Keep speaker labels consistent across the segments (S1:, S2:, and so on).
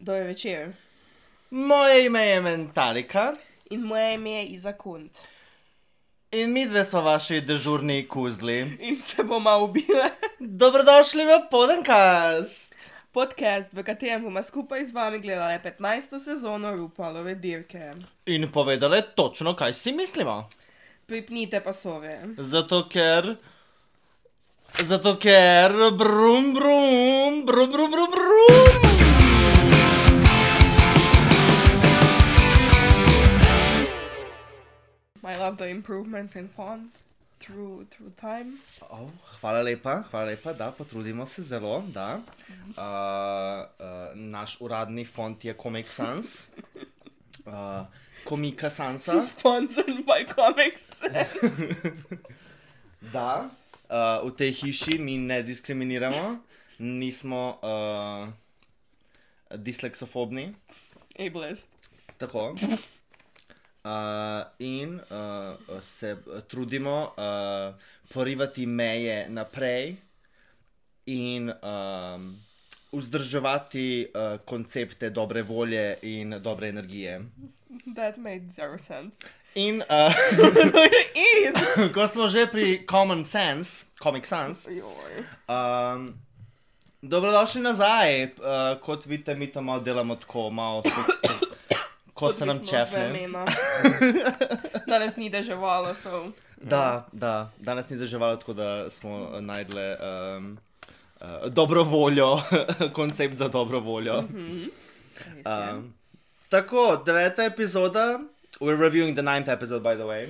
S1: večer.
S2: Moje ime je Mentalika
S1: In moje ime je Izakund.
S2: in mi dve smo vaši dežurni kuzli.
S1: In se bomo ubile
S2: Dobrodošli v Podenkast.
S1: podcast, v katerem bomo skupaj z vami gledali 15. sezono Rupalove dirke.
S2: In povedali točno, kaj si mislimo.
S1: Pripnite pasove.
S2: Zato ker. Zato ker. Brum, brum, brum, brum, brum, brum.
S1: I love the improvement in font through, through time.
S2: Oh, hvala lepa, hvala lepa, da potrudimo se zelo. Da. Uh, uh, naš uradni font je Comic Sans, uh, Komika Sansa.
S1: Sponsored by Comics.
S2: Da, uh, v tej hiši mi ne diskriminiramo, nismo uh, disleksofobni.
S1: Ableist.
S2: Tako. Uh, in uh, se trudimo uh, porivati meje naprej in um, vzdrževati uh, koncepte dobre volje in dobre energije.
S1: That made zero sense.
S2: In uh,
S1: no, it is.
S2: ko smo že pri Common Sense, Comic Sans,
S1: Joj.
S2: Um, dobrodošli nazaj. Uh, kot vidite, mi to malo delamo tako, malo tako, ko se nam
S1: Odvisno od
S2: čefne.
S1: vremena. Danes ni deževalo, so.
S2: Da, da, danes ni državalo tako, da smo najdle um, uh, dobro voljo, koncept za dobro voljo.
S1: Um,
S2: Um, tako, deveta epizoda. We're reviewing the ninth episode, by the way.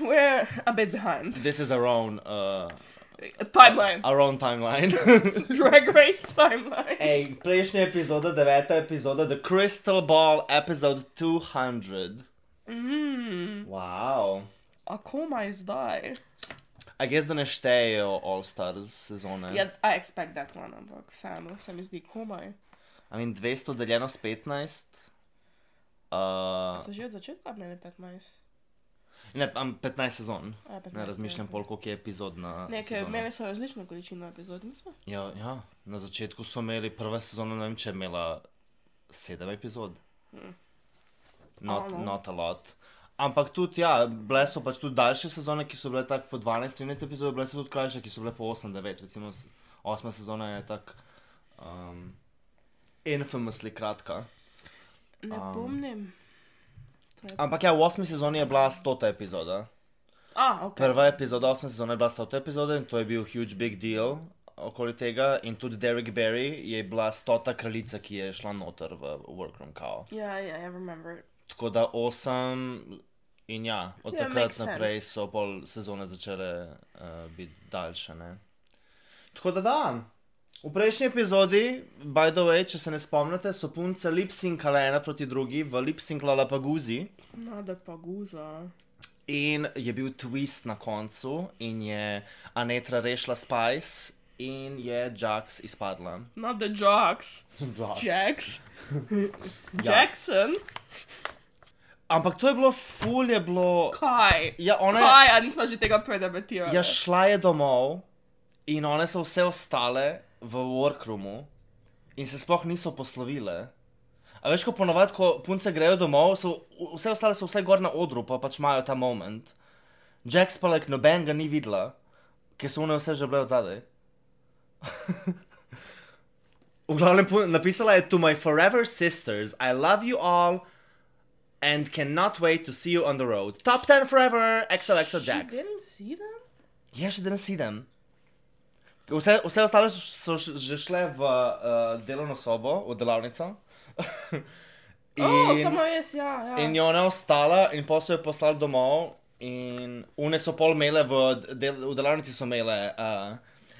S1: We're a bit behind.
S2: This is our own, uh,
S1: Timeline.
S2: our own timeline.
S1: Drag Race timeline.
S2: Ej, prejšnja epizoda, deveta epizoda, The Crystal Ball, episode 200.
S1: Mm,
S2: Wow.
S1: a coma is die.
S2: A jaz da ne štejejo All Stars sezone.
S1: Yeah, I expect that one, ampak vseeno se mi zdi komaj.
S2: Ah. I mean, 200 deljeno s 15. Uh,
S1: Se že od začetka meni 15.
S2: ne, am 15 sezon.
S1: A, 15
S2: Ne razmišljam pol, koliko je epizod na.
S1: Nekaj,
S2: sezono.
S1: meni so različne količine epizod, mislim.
S2: Ja, ja, na začetku so imeli prva sezona, ne vem, če je imela 7 epizod. Not,
S1: Alo.
S2: not a lot. Ampak tudi, ja, bile so pač tudi daljše sezone, ki so bile tako po 12-13 epizod, bile so tudi krajše, ki so bile po 8-9, recimo 8 sezona je tako um, infamously kratka.
S1: Ne
S2: Am.
S1: pomnim.
S2: Ampak ja, v 8 sezoni je bila 100 epizoda.
S1: A, Ah, ok.
S2: Prva epizoda 8 sezone je bila 100 epizoda in to je bil huge big deal okoli tega. In tudi Derek Barry je bila 100 kraljica, ki je šla noter v workroom kao.
S1: Ja, ja, I remember.
S2: Tako da 8 in ja, od
S1: Ja,
S2: yeah, takrat
S1: makes sense.
S2: naprej so pol sezone začele uh, biti daljše. Ne? Tako da da. V prejšnji epizodi, by the way, če se ne spomnite, so punce lipsinkale ena proti drugi v lipsinkala Paguzi.
S1: Nada pa guza.
S2: In je bil twist na koncu, in je Anetra rešila Spice, in je Jax izpadla.
S1: Nada Jax. Jax. Jackson.
S2: Ampak to je bilo ful, je bilo.
S1: Kaj?
S2: Ja, ona je,
S1: Kaj, a nismo že tega predebatirali?
S2: ja, šla je domov, in one so vse ostale v workroomu, in se sploh niso poslovile. A veš, ko ponovadi, ko punce grejo domov, so v- vse ostale so vse gor na odru, pa pač imajo ta moment. Jax pa like noben ga ni videla, ker so one vse že bile od zadaj. V glavnem pu- napisala je To my forever sisters, I love you all and cannot wait to see you on the road. Top 10 forever, XOXO
S1: She
S2: Jax.
S1: didn't see them?
S2: Ja, še danes idem. Vse, vse ostale so, so š- že šle v uh, delovno sobo, v delavnico. in,
S1: Oh, samo jaz, ja, ja.
S2: in je ona ostala, in pa so jo poslali domov, in une so pol imele v, d- del, v delavnici so imele. Uh,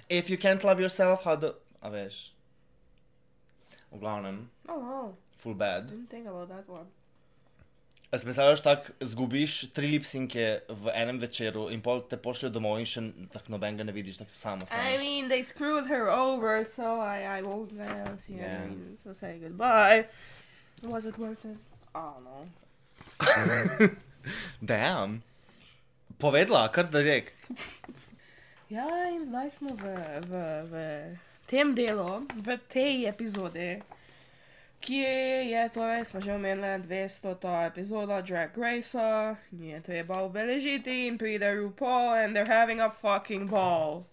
S2: If you can't love yourself, how do. A veš. V glavnem,
S1: Oh, wow.
S2: full bad.
S1: Didn't think about that one.
S2: A si predstavljaš, tako zgubiš tri lipsinke v enem večeru in pol te pošlje domov in še n- tako nobenega ne vidiš, tako samo.
S1: I mean, they screwed her over, so I, I won't uh, see
S2: Yeah.
S1: any reason to say goodbye. Was it worth it? I don't know.
S2: Damn. Povedala, kar direkt.
S1: Ja, in zdaj smo v, v, v tem delu, v tej epizodi, Kje je torej, smo že omenili 200. epizoda Drag Race, je treba obeležiti in pride RuPaul and they're having a fucking ball.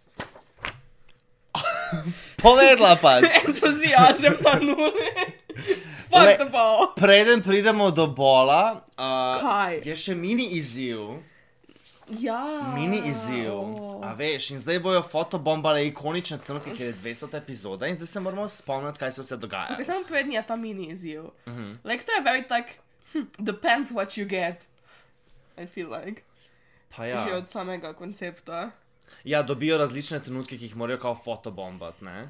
S2: Povedla pač.
S1: Entuzijazem na nuli. Fuck
S2: Le-
S1: the ball.
S2: Preden pridemo do bola, uh,
S1: Kaj?
S2: je še mini izziv.
S1: Ja.
S2: Mini izziv. A veš, in zdaj bojo fotobombale ikonične trenutke, ker je 200 epizoda in zdaj se moramo spomniti, kaj se vse dogaja.
S1: Okay, samo povedni je ta mini izziv. Mm -hmm.
S2: Mm-hmm.
S1: Like, to je very like, hm, depends what you get. I feel like.
S2: Pa
S1: Ja.
S2: ja.
S1: Že od samega koncepta.
S2: ja, dobijo različne trenutke, ki jih morajo kao fotobombat, ne?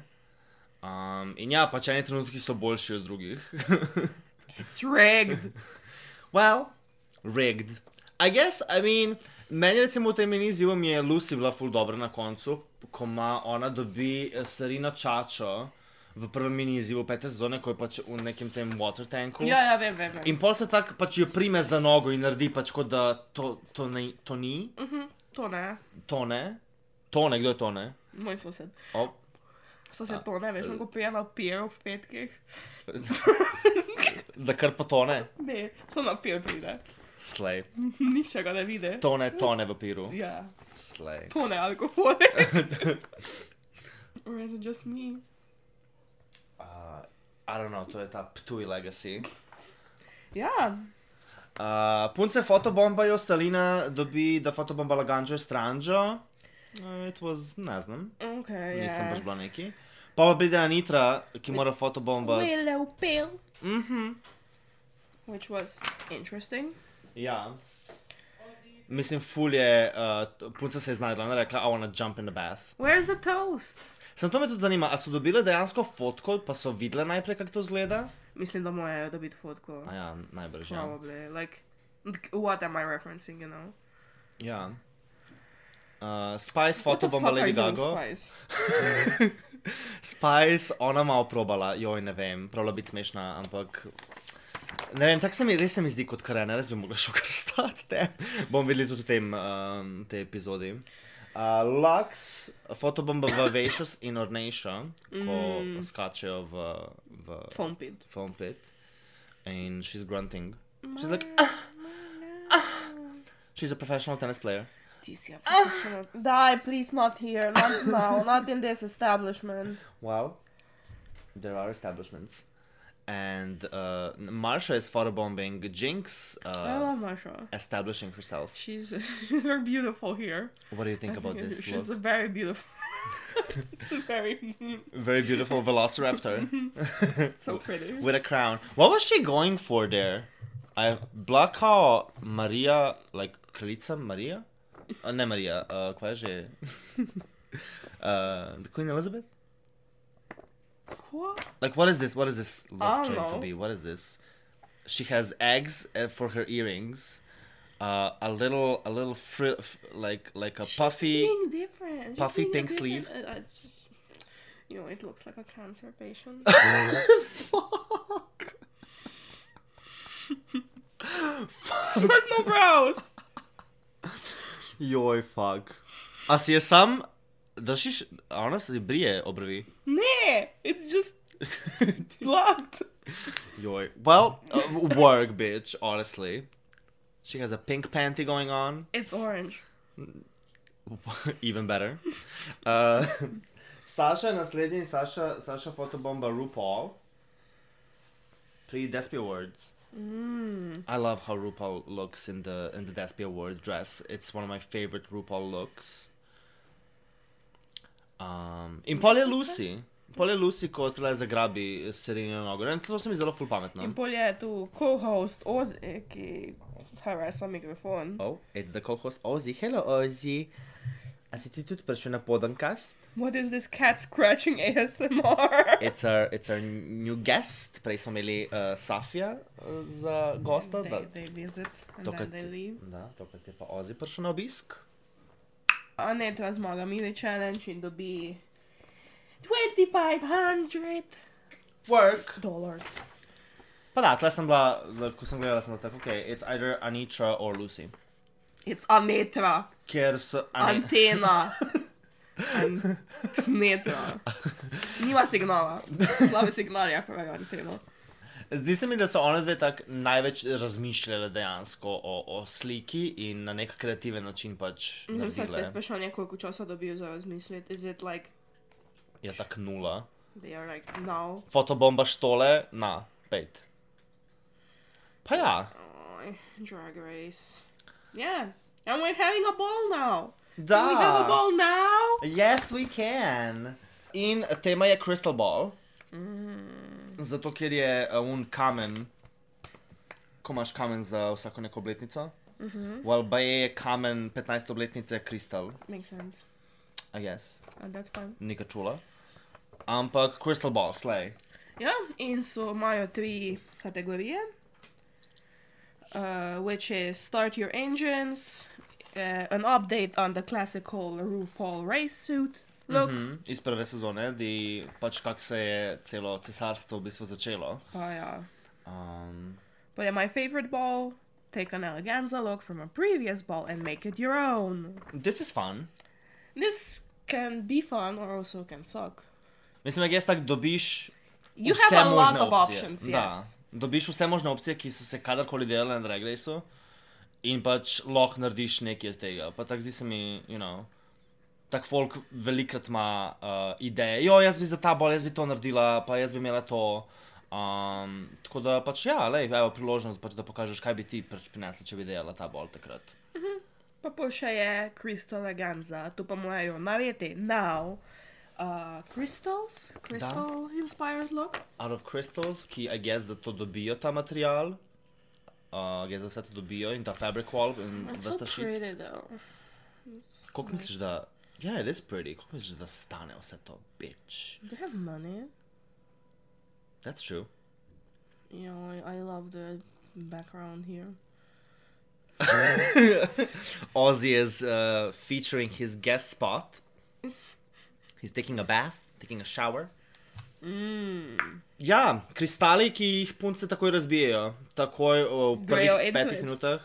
S2: Um, in ja, pač eni trenutki so boljši od drugih.
S1: It's rigged.
S2: well, rigged. I guess, I mean, meni recimo v tem mini izzivu mi je Lucy bila ful dobra na koncu, ko ima ona dobi eh, Sarino Čačo v prvem mini izzivu pete sezone, ko je pač v nekem tem water tanku.
S1: ja, ja, vem, vem. vem.
S2: In pol se tako pač jo prime za nogo in naredi pač kot da to, to, ne, to ni,
S1: To ne,
S2: to ne, to ne, kdo je to ne.
S1: moj sosed.
S2: O,
S1: Sosed to ne, veš, on ko pije na pijo ob petkih.
S2: da kar pa to ne,
S1: Ne, samo na pijo pride.
S2: slej,
S1: Nihče ga ne vidi.
S2: to ne, to ne v piru,
S1: Ja,
S2: slej.
S1: to ne alkohol. Or is it just me?
S2: Uh, I don't know, to je ta ptuj legacy.
S1: Ja,
S2: Uh, punce fotobombajo, Stalina dobi, da fotobomba laganžo stranžo. Uh, it was, ne znam,
S1: ok.
S2: yeah. nisem
S1: ja.
S2: pač bila neki. Pa pa pride Anitra, ki mora fotobombati.
S1: Willow pill.
S2: Mhm.
S1: Which was interesting.
S2: Ja. Mislim, ful je, uh, punca se je znašla, ona je rekla, I wanna jump in the bath.
S1: Where's the toast?
S2: Sem to me tudi zanima, a so dobile dejansko fotko, pa so videle najprej, kako to zgleda?
S1: Mislim, da morajo dobiti fotko.
S2: A ja, najbrž. Ja.
S1: Probably. Like, what am I referencing, you know?
S2: ja. Uh, Spice,
S1: What the
S2: fotobomba
S1: fuck are
S2: Lady
S1: you,
S2: Gaga.
S1: Spice?
S2: Spice, ona malo probala, joj ne vem, pravila biti smešna, ampak. Ne vem, tako se mi res se mi zdi kot karena, res bi mogla še kar stati. ne. Bomo videli tudi v tem, um, tej epizodi. Uh, Lux, fotobomba v Vešus in Ornejša, ko mm. skačejo v, v
S1: Phone pit.
S2: foam pit. And she's grunting. She's like, "Ah, she's a professional tennis player.
S1: Ti si obsessional. Die, please, not here, not now, not in this establishment.
S2: Wow. There are establishments. And uh, Marsha is photobombing Jinx,
S1: I
S2: uh,
S1: love Marsha.
S2: establishing herself.
S1: She's very beautiful here.
S2: What do you think about this
S1: She's
S2: look?
S1: a very beautiful. it's a very
S2: Very beautiful velociraptor
S1: so pretty.
S2: with a crown. What was she going for there? I black how Maria like kraljica Maria? Uh, ne Maria, uh, kaj je že? uh, Queen Elizabeth?
S1: What?
S2: Like, what is this? What is this
S1: I
S2: love
S1: don't
S2: trying to
S1: know.
S2: be? What is this? She has eggs uh, for her earrings. Uh, a little, a little fri- f- like like a puffy.
S1: Being different. She's
S2: puffy
S1: being a
S2: pink sleeve.
S1: different- uh, uh, it's just- you know, it looks like a cancer patient.
S2: Fuck.
S1: she has no brows.
S2: Joj, fuck. A si je sam, držiš, a ona se brije obrvi.
S1: Nah, it's just blocked.
S2: Joj. Well, uh, work, bitch, honestly. She has a pink panty going on.
S1: It's orange.
S2: Even better. Uh, Saša je naslednji in Saša, Saša fotobomba RuPaul pri Despy Awards. Mm. I love how RuPaul looks in the in the Despy Award dress. It's one of my favorite RuPaul looks. Um, in pol je Lucy. Pol je Lucy, ko tole zagrabi Serenijo nogo. Ne, To se mi zelo ful pametno.
S1: In bolje je tu co-host Ozi, ki harasa mikrofon.
S2: Oh, it's the co-host Ozzy. Hello, Ozzy. A si ti tudi prišel na podcast?
S1: What is this cat scratching ASMR?
S2: It's our, it's our new guest, prej smo imeli uh, Safija uh, za gosta. Da,
S1: They, they visit and
S2: tokrat,
S1: then they leave.
S2: da, tokrat je pa Ozi prišel na obisk.
S1: A ne, to je zmaga mini challenge in dobi 2500
S2: Work.
S1: dollars.
S2: Pa da, tle sem bila, da, ko sem gledala, sem bila tako, ok, it's either Anitra or Lucy.
S1: It's Anetra.
S2: Ker so Ani-
S1: Antena. Anetra. Nima signala. Slabi signal je pravi anteno.
S2: Zdi se mi, da so one dve tako največ razmišljale dejansko o, o sliki in na nek kreativen način pač.
S1: Mhm, Mislim, se spet
S2: naredile.
S1: vprašanje, koliko časa dobijo za razmisliti. Is it like
S2: Je Ja, tako nula.
S1: they are like now?
S2: Fotobomba štole, na, pet. Pa ja,
S1: Oh, drag race. Yeah. And we're having a ball now.
S2: Ah.
S1: Can we have a
S2: da.
S1: ball now?
S2: Yes, we can. In tema je Crystal Ball. Zato, ker je eh, un kamen, ko imaš kamen za vsako neko obletnico. Mhm. Well, baje je kamen 15. obletnice Crystal,
S1: Makes sense.
S2: a jaz, yes.
S1: Uh, that's fine.
S2: nekaj čula. Ampak Crystal Ball, slej.
S1: Ja, in so imajo tri kategorije, uh, which is start your engines, uh, an update on the classical RuPaul race suit look,
S2: Mhm, Iz prve sezone, di pač kako se je celo cesarstvo v bistvu začelo.
S1: pa ja,
S2: Um,
S1: pa je my favorite ball, take an eleganza look from a previous ball and make it your own.
S2: this is fun.
S1: This can be fun or also can suck.
S2: Mislim, da jaz tako dobiš
S1: You
S2: vse
S1: have a lot
S2: možne
S1: of
S2: opcije.
S1: options,
S2: Da,
S1: yes.
S2: dobiš vse možne opcije, ki so se kadarkoli delale na Drag Raceu in pač lahko narediš nekaj od tega. Pa tako zdi se mi, you know, tako folk velikrat ima uh, ideje, jo, jaz bi za ta bol, jaz bi to naredila, pa jaz bi imela to. Um, tako da pač ja, lej, evo priložnost, pač, da pokažeš, kaj bi ti pač prinesla, če bi delala ta bol takrat.
S1: Pa pol še je Crystal Eleganza, tu pa morajo naveti now. Uh, crystals, crystal inspired look.
S2: Out of Crystals, ki I guess, da to dobijo ta material. Uh, jaz vse to dobijo in ta fabric wall in
S1: It's
S2: vse
S1: so
S2: ta shit.
S1: pretty though.
S2: Koliko misliš, da. Ja, yeah, it is pretty. Koliko misliš, da stane vse to, bitch?
S1: They have money.
S2: That's true.
S1: You know, I, I love the background here.
S2: Ozzy is uh, featuring his guest spot. He's taking a bath, taking a shower. Mm. Ja, kristali, ki jih punce takoj razbijajo, takoj uh, v
S1: Grejo
S2: prvih
S1: into
S2: petih
S1: it.
S2: minutah,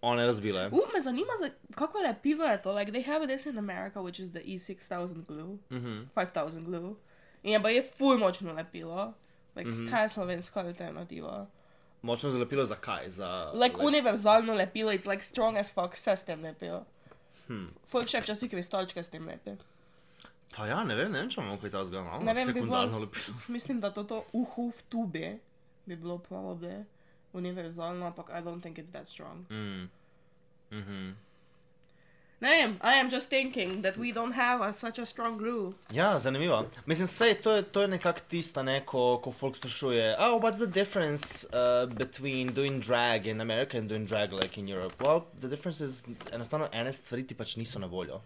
S2: one razbile.
S1: U, me zanima, za, kako je pivo Like, they have this in America, which is the E6000 glue.
S2: Mhm.
S1: 5000 glue. In je pa je ful močno lepilo. Like,
S2: Mhm.
S1: kaj je slovenska alternativa?
S2: Močno zalepilo, zakaj? Za,
S1: Like, univerzalno lepilo, it's like strong as fuck, vse s tem lepijo.
S2: Hmm.
S1: Folk še včasih kristalčke s tem lepijo.
S2: Pa ja, ne vem, ne vem, če imamo kaj takega. No?
S1: Ne vem, bi bilo-
S2: sekundarno lepilo.
S1: Mislim, da toto uhu v tubi bi bilo probably univerzalno, ampak I don't think it's that strong.
S2: Mm. Mhm.
S1: Ne vem, I am just thinking that we don't have a, such a strong glue.
S2: Ja, zanimivo. Mislim, sej, to je, to je nekako tista, ne, ko, ko folk sprašuje, oh, what's the difference uh, between doing drag in America and doing drag like in Europe? Well, the difference is, enostavno ene stvari ti pač niso na voljo.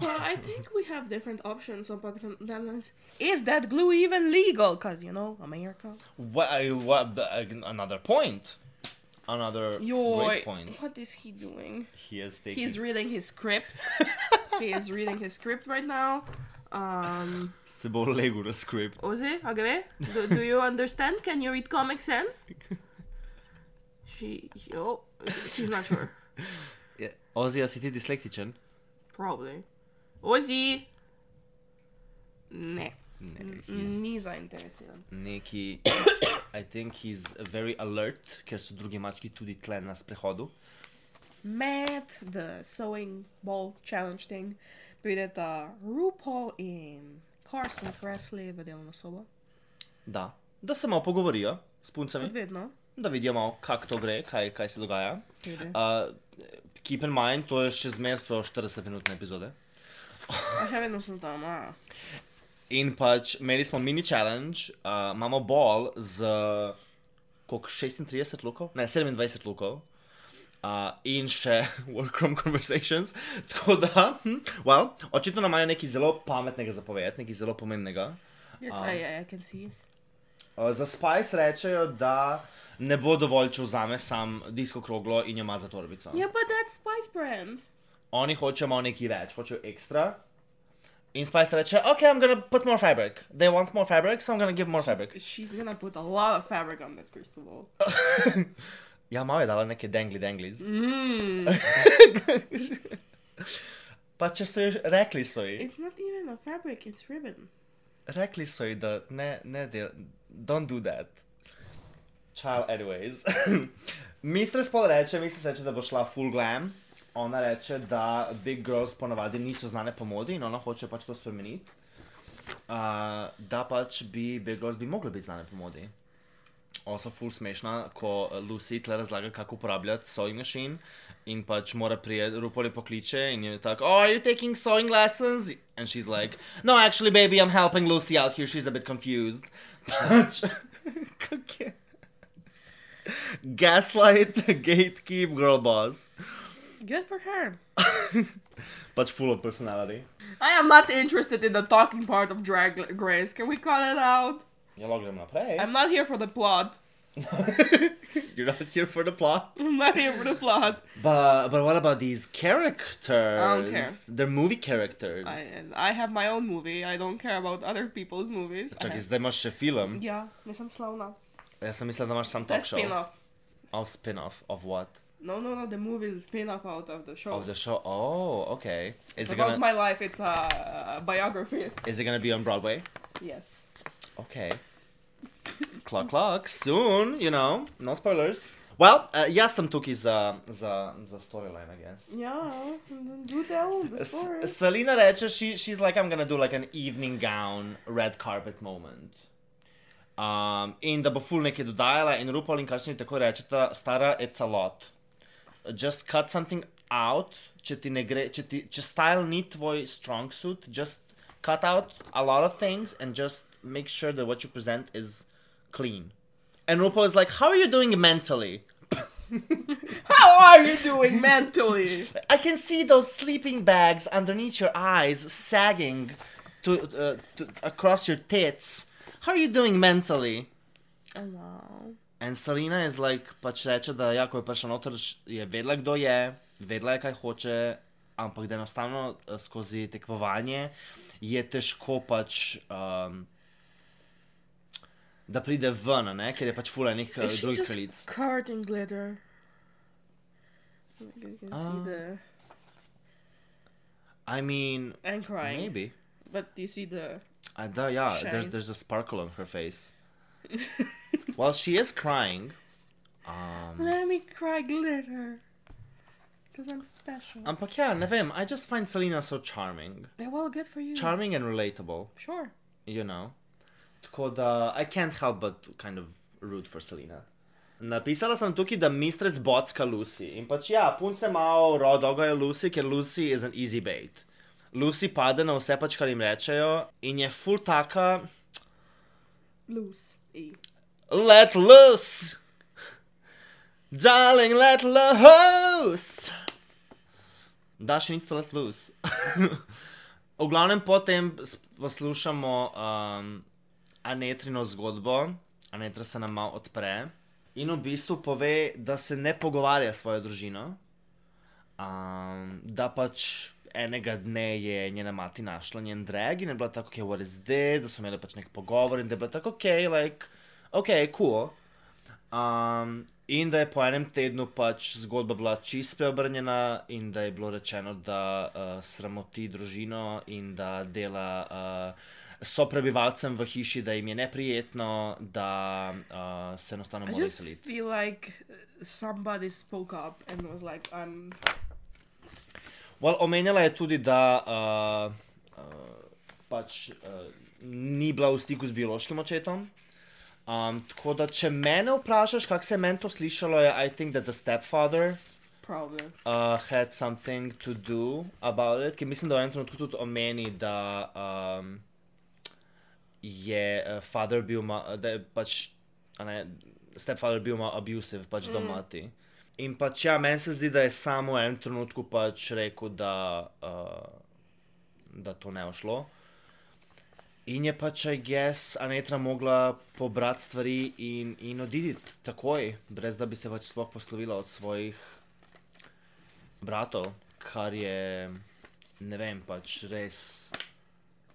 S1: Well, I think we have different options, ampak then- then it's- is that glue even legal? Cause you know, America.
S2: What, I, what, the, another point. Another
S1: Your
S2: great point.
S1: what is he doing?
S2: He is taking...
S1: He's reading his script. he is reading his script right now. Um,
S2: Se bo legel na script.
S1: Oze, agave? Do, do you understand? Can you read Comic Sans? She, oh, she's not sure.
S2: Yeah. Ozija, si ti dislektičen?
S1: Probably. Ozzy. Ne.
S2: Ne, he's
S1: Ni zainteresiran.
S2: neki... I think he's very alert, ker so drugi mački tudi tle na sprehodu.
S1: Med the sewing ball challenge thing prideta RuPaul in Carson Kressley v delovno sobo.
S2: Da. Da se malo pogovorijo s puncami,
S1: Kot vedno.
S2: da vidijo, malo, kako to gre, kaj, kaj se dogaja.
S1: Tudi.
S2: Uh, keep in mind, to je še zmeraj 40-minutne epizode.
S1: A še vedno sem tam, a.
S2: In pač imeli smo mini challenge, uh, imamo bol z koliko, 36 lukov, ne 27 lukov. Uh, in še workroom conversations. Tako da, hm, well, očitno nam imajo nekaj zelo pametnega zapovedati, nekaj zelo pomembnega.
S1: Yes, I, I, I can see.
S2: Uh, za Spice rečejo, da ne bo dovolj, če vzame sam disko kroglo in jo ima za torbico.
S1: Yeah, but that's Spice Brand.
S2: Oni hočejo malo nekaj več, hočejo ekstra. In Spice reče, ok, I'm gonna put more fabric. They want more fabric, so I'm gonna give more fabric.
S1: She's gonna put a lot of fabric on that crystal ball.
S2: Ja, malo je dala neke dengli dengliz.
S1: Mm.
S2: Pa če so ji, rekli so ji,
S1: It's not even a fabric, it's ribbon.
S2: rekli so ji, da ne, ne, del, don't do that. Child, anyways. Mistress pol reče, Mistress reče, da bo šla full glam. Ona reče, da big girls ponavadi niso znane po modi in ona hoče pač to spremeniti. Uh, da pač bi big girls bi mogle biti znane po modi. Osa full smešna, ko eh, Lucy tle razlaga, kako uporabljati sewing machine in pač mora prijeti, Rupoli pokliče in je tako, oh, are you taking sewing lessons? And she's like, no, actually, baby, I'm helping Lucy out here, she's a bit confused. Pač, kak je? Gaslight, gatekeep, girl boss.
S1: Good for her.
S2: Pač full of personality.
S1: I am not interested in the talking part of Drag Grace. Can we call it out?
S2: Ja, lahko gremo naprej.
S1: I'm not here for the plot.
S2: You're not here for the plot.
S1: I'm not here for the plot.
S2: But, but what about these characters?
S1: I don't care.
S2: They're movie characters.
S1: I, and I have my own movie. I don't care about other people's movies. I
S2: Čakaj,
S1: have...
S2: zdaj imaš še film.
S1: Yeah, nisam slavna.
S2: Jaz sem mislil, da imaš sam
S1: The
S2: talk show.
S1: spin-off.
S2: Oh, spin-off of what?
S1: No, no, no. The movie is a spin-off out of the show.
S2: Of the show. Oh, okay. Is
S1: It's
S2: it
S1: about
S2: gonna
S1: my life. It's a, a biography.
S2: is it gonna be on Broadway?
S1: Yes.
S2: Okay. Clock, clock, soon, you know, no spoilers. Well, uh, jaz sem tukaj za, za, za storyline, I guess.
S1: Yeah. Do tell the
S2: S-
S1: story.
S2: Selena reče, she, she's like, I'm gonna do like an evening gown, red carpet moment. Um, in da bo ful nekaj dodajala, in RuPaul in Karšni tako rečeta, stara, it's a lot. Just cut something out, če ti ne gre, če, ti, če style ni tvoj strong suit, just cut out a lot of things and just make sure that what you present is clean. And RuPaul is like, how are you doing mentally?
S1: How are you doing mentally?
S2: I can see those sleeping bags underneath your eyes sagging to, uh, to across your tits. How are you doing mentally?
S1: Hello.
S2: And Selena je like, pač reče, da ja, ko je prišla noter, š- je vedela, kdo je, vedela je, kaj hoče, ampak da enostavno eh, skozi tekmovanje je težko pač. Um, Da pride ven, a ne? ker je pač fula nekih eh,
S1: Is she
S2: drugih
S1: just
S2: kraljic.
S1: covered in glitter? Like you can
S2: Uh,
S1: see the
S2: I mean,
S1: and crying,
S2: maybe.
S1: but you see the.
S2: I do, yeah, there's,
S1: Shame.
S2: there's a sparkle on her face. Well, she is crying. Um,
S1: Let me cry glitter, cause I'm special.
S2: ampak ja, ne vem, I just find Selena so charming.
S1: Yeah, well, good for you.
S2: Charming and relatable,
S1: sure.
S2: you know. Tako da, I can't help but kind of root for Selena. Napisala sem tukaj, da mistress bocka Lucy. In pač ja, punce malo rodogajo Lucy, ker Lucy is an easy bait. Lucy pade na vse pač, kar jim rečejo in je full taka,
S1: Loose. E.
S2: Let loose! Darling, let loose! Da, še nič, let loose. v glavnem, potem s- poslušamo um, Anetrino zgodbo, Anetra se nam malo odpre in v bistvu pove, da se ne pogovarja s svojo družino, um, da pač. Enega dne je njena mati našla njen drag in je bila tako, ok, what is this, da so imeli pač nek pogovor in da je bila tako, ok, like, ok, cool. Um, in da je po enem tednu pač zgodba bila čist preobrnjena, in da je bilo rečeno, da uh, sramoti družino in da dela uh, so prebivalcem v hiši, da jim je neprijetno, da uh, se enostavno
S1: I
S2: morajo
S1: just
S2: seliti.
S1: feel like uh, somebody spoke up and was like, "I'm."
S2: Well, omenjala je tudi, da uh, uh, pač uh, ni bila v stiku z biološkim očetom. Um, tako da, če mene vprašaš, kako se je meni to slišalo, je I think that the stepfather.
S1: Probably.
S2: uh, had something to do about it, ki mislim, da v enem trenutku tudi omeni, da um, je uh, father bil, ma, da je pač, a ne, stepfather bil malo abusive, pač mm. do mati. In pač, ja, meni se zdi, da je samo v enem trenutku pač rekel, da, uh, da to ne ošlo. In je pač, I guess, Anetra mogla pobrati stvari in, in oditi takoj, brez da bi se pač sploh poslovila od svojih bratov, kar je, ne vem, pač res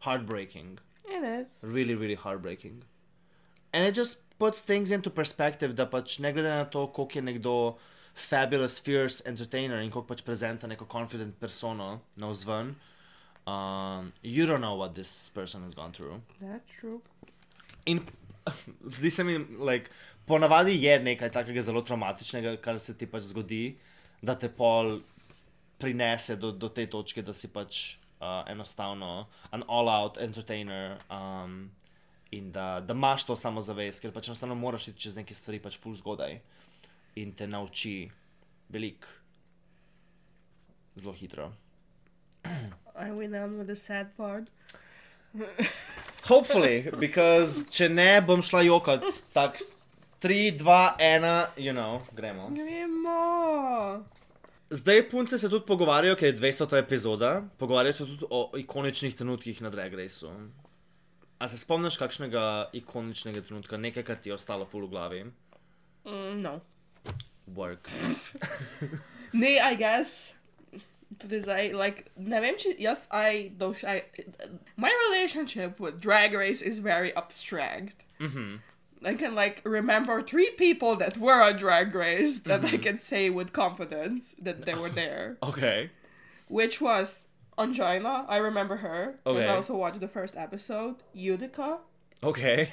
S2: heartbreaking.
S1: It is.
S2: Really, really heartbreaking. And it just puts things into perspective, da pač ne glede na to, koliko je nekdo fabulous, fierce entertainer in koliko pač prezenta neko confident persono na vzven, um, you don't know what this person has gone through.
S1: That's true.
S2: In Zdi se mi, like, ponavadi je nekaj takega zelo traumatičnega, kar se ti pač zgodi, da te pol prinese do, do te točke, da si pač uh, enostavno an all-out entertainer um, in da, da imaš to samozavest, ker pač enostavno moraš iti čez neke stvari, pač pul zgodaj in te nauči veliko, zelo hitro.
S1: Are we done with the sad part?
S2: Hopefully, because če ne, bom šla jokat. Tak, 3, 2, 1, you know, gremo.
S1: Gremo!
S2: Zdaj punce se tudi pogovarjajo, ker je 200 epizoda, pogovarjajo se tudi o ikoničnih trenutkih na Drag Raceu. A se spomniš kakšnega ikoničnega trenutka, nekaj, kar ti je ostalo ful v glavi?
S1: Mm, no.
S2: Work.
S1: Ne, I guess. Tudi zdaj, like, ne vem, če jaz, I, doš, I, my relationship with Drag Race is very abstract.
S2: Mhm.
S1: I can, like, remember three people that were on Drag Race that I can say with confidence that they were there.
S2: Ok.
S1: Which was Angina, I remember her, because
S2: Okay.
S1: I also watched the first episode, Utica,
S2: Ok.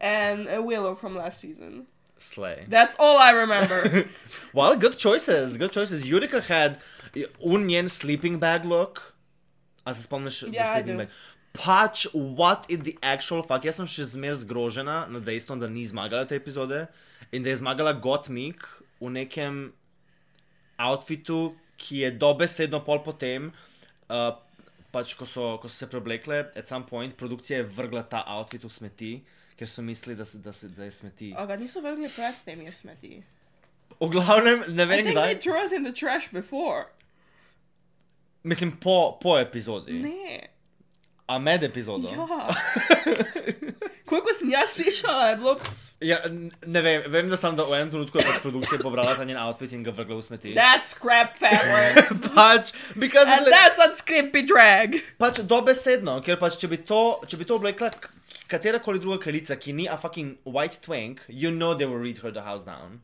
S1: and uh, Willow from last season.
S2: Slay.
S1: That's all I remember.
S2: well, good choices, good choices. Utica had un njen sleeping bag look. A se spomniš,
S1: Ja, I
S2: da sleeping
S1: do.
S2: bag? Pač, what in the actual fuck, jaz sem še zmer zgrožena nad dejstvom, da ni zmagala te epizode in da je zmagala Gottmik v nekem outfitu, ki je dobesedno pol potem, uh, pač ko so, ko so se preoblekle, at some point produkcija je vrgla ta outfit v smeti, ker so mislili, da, se, da, se, da je smeti.
S1: oh god, niso vrgli pred temi je smeti.
S2: V glavnem, ne
S1: I
S2: vem
S1: think
S2: kdaj.
S1: they threw it in the trash before.
S2: Mislim, po, po epizodi,
S1: Ne.
S2: a med epizodo.
S1: Ja. Koliko sem jaz slišala, je bilo...
S2: ja, n- ne vem, vem, da sem da v enem trenutku je pač produkcija pobrala ta njen outfit in ga vrgla v smeti.
S1: That's crap fabrics.
S2: Pač, because,
S1: And
S2: like,
S1: that's on Skippy Drag.
S2: pač dobesedno, ker pač, če bi to, če bi to oblekla k- katerakoli druga kraljica, ki ni a fucking white twink, you know they will read her the house down.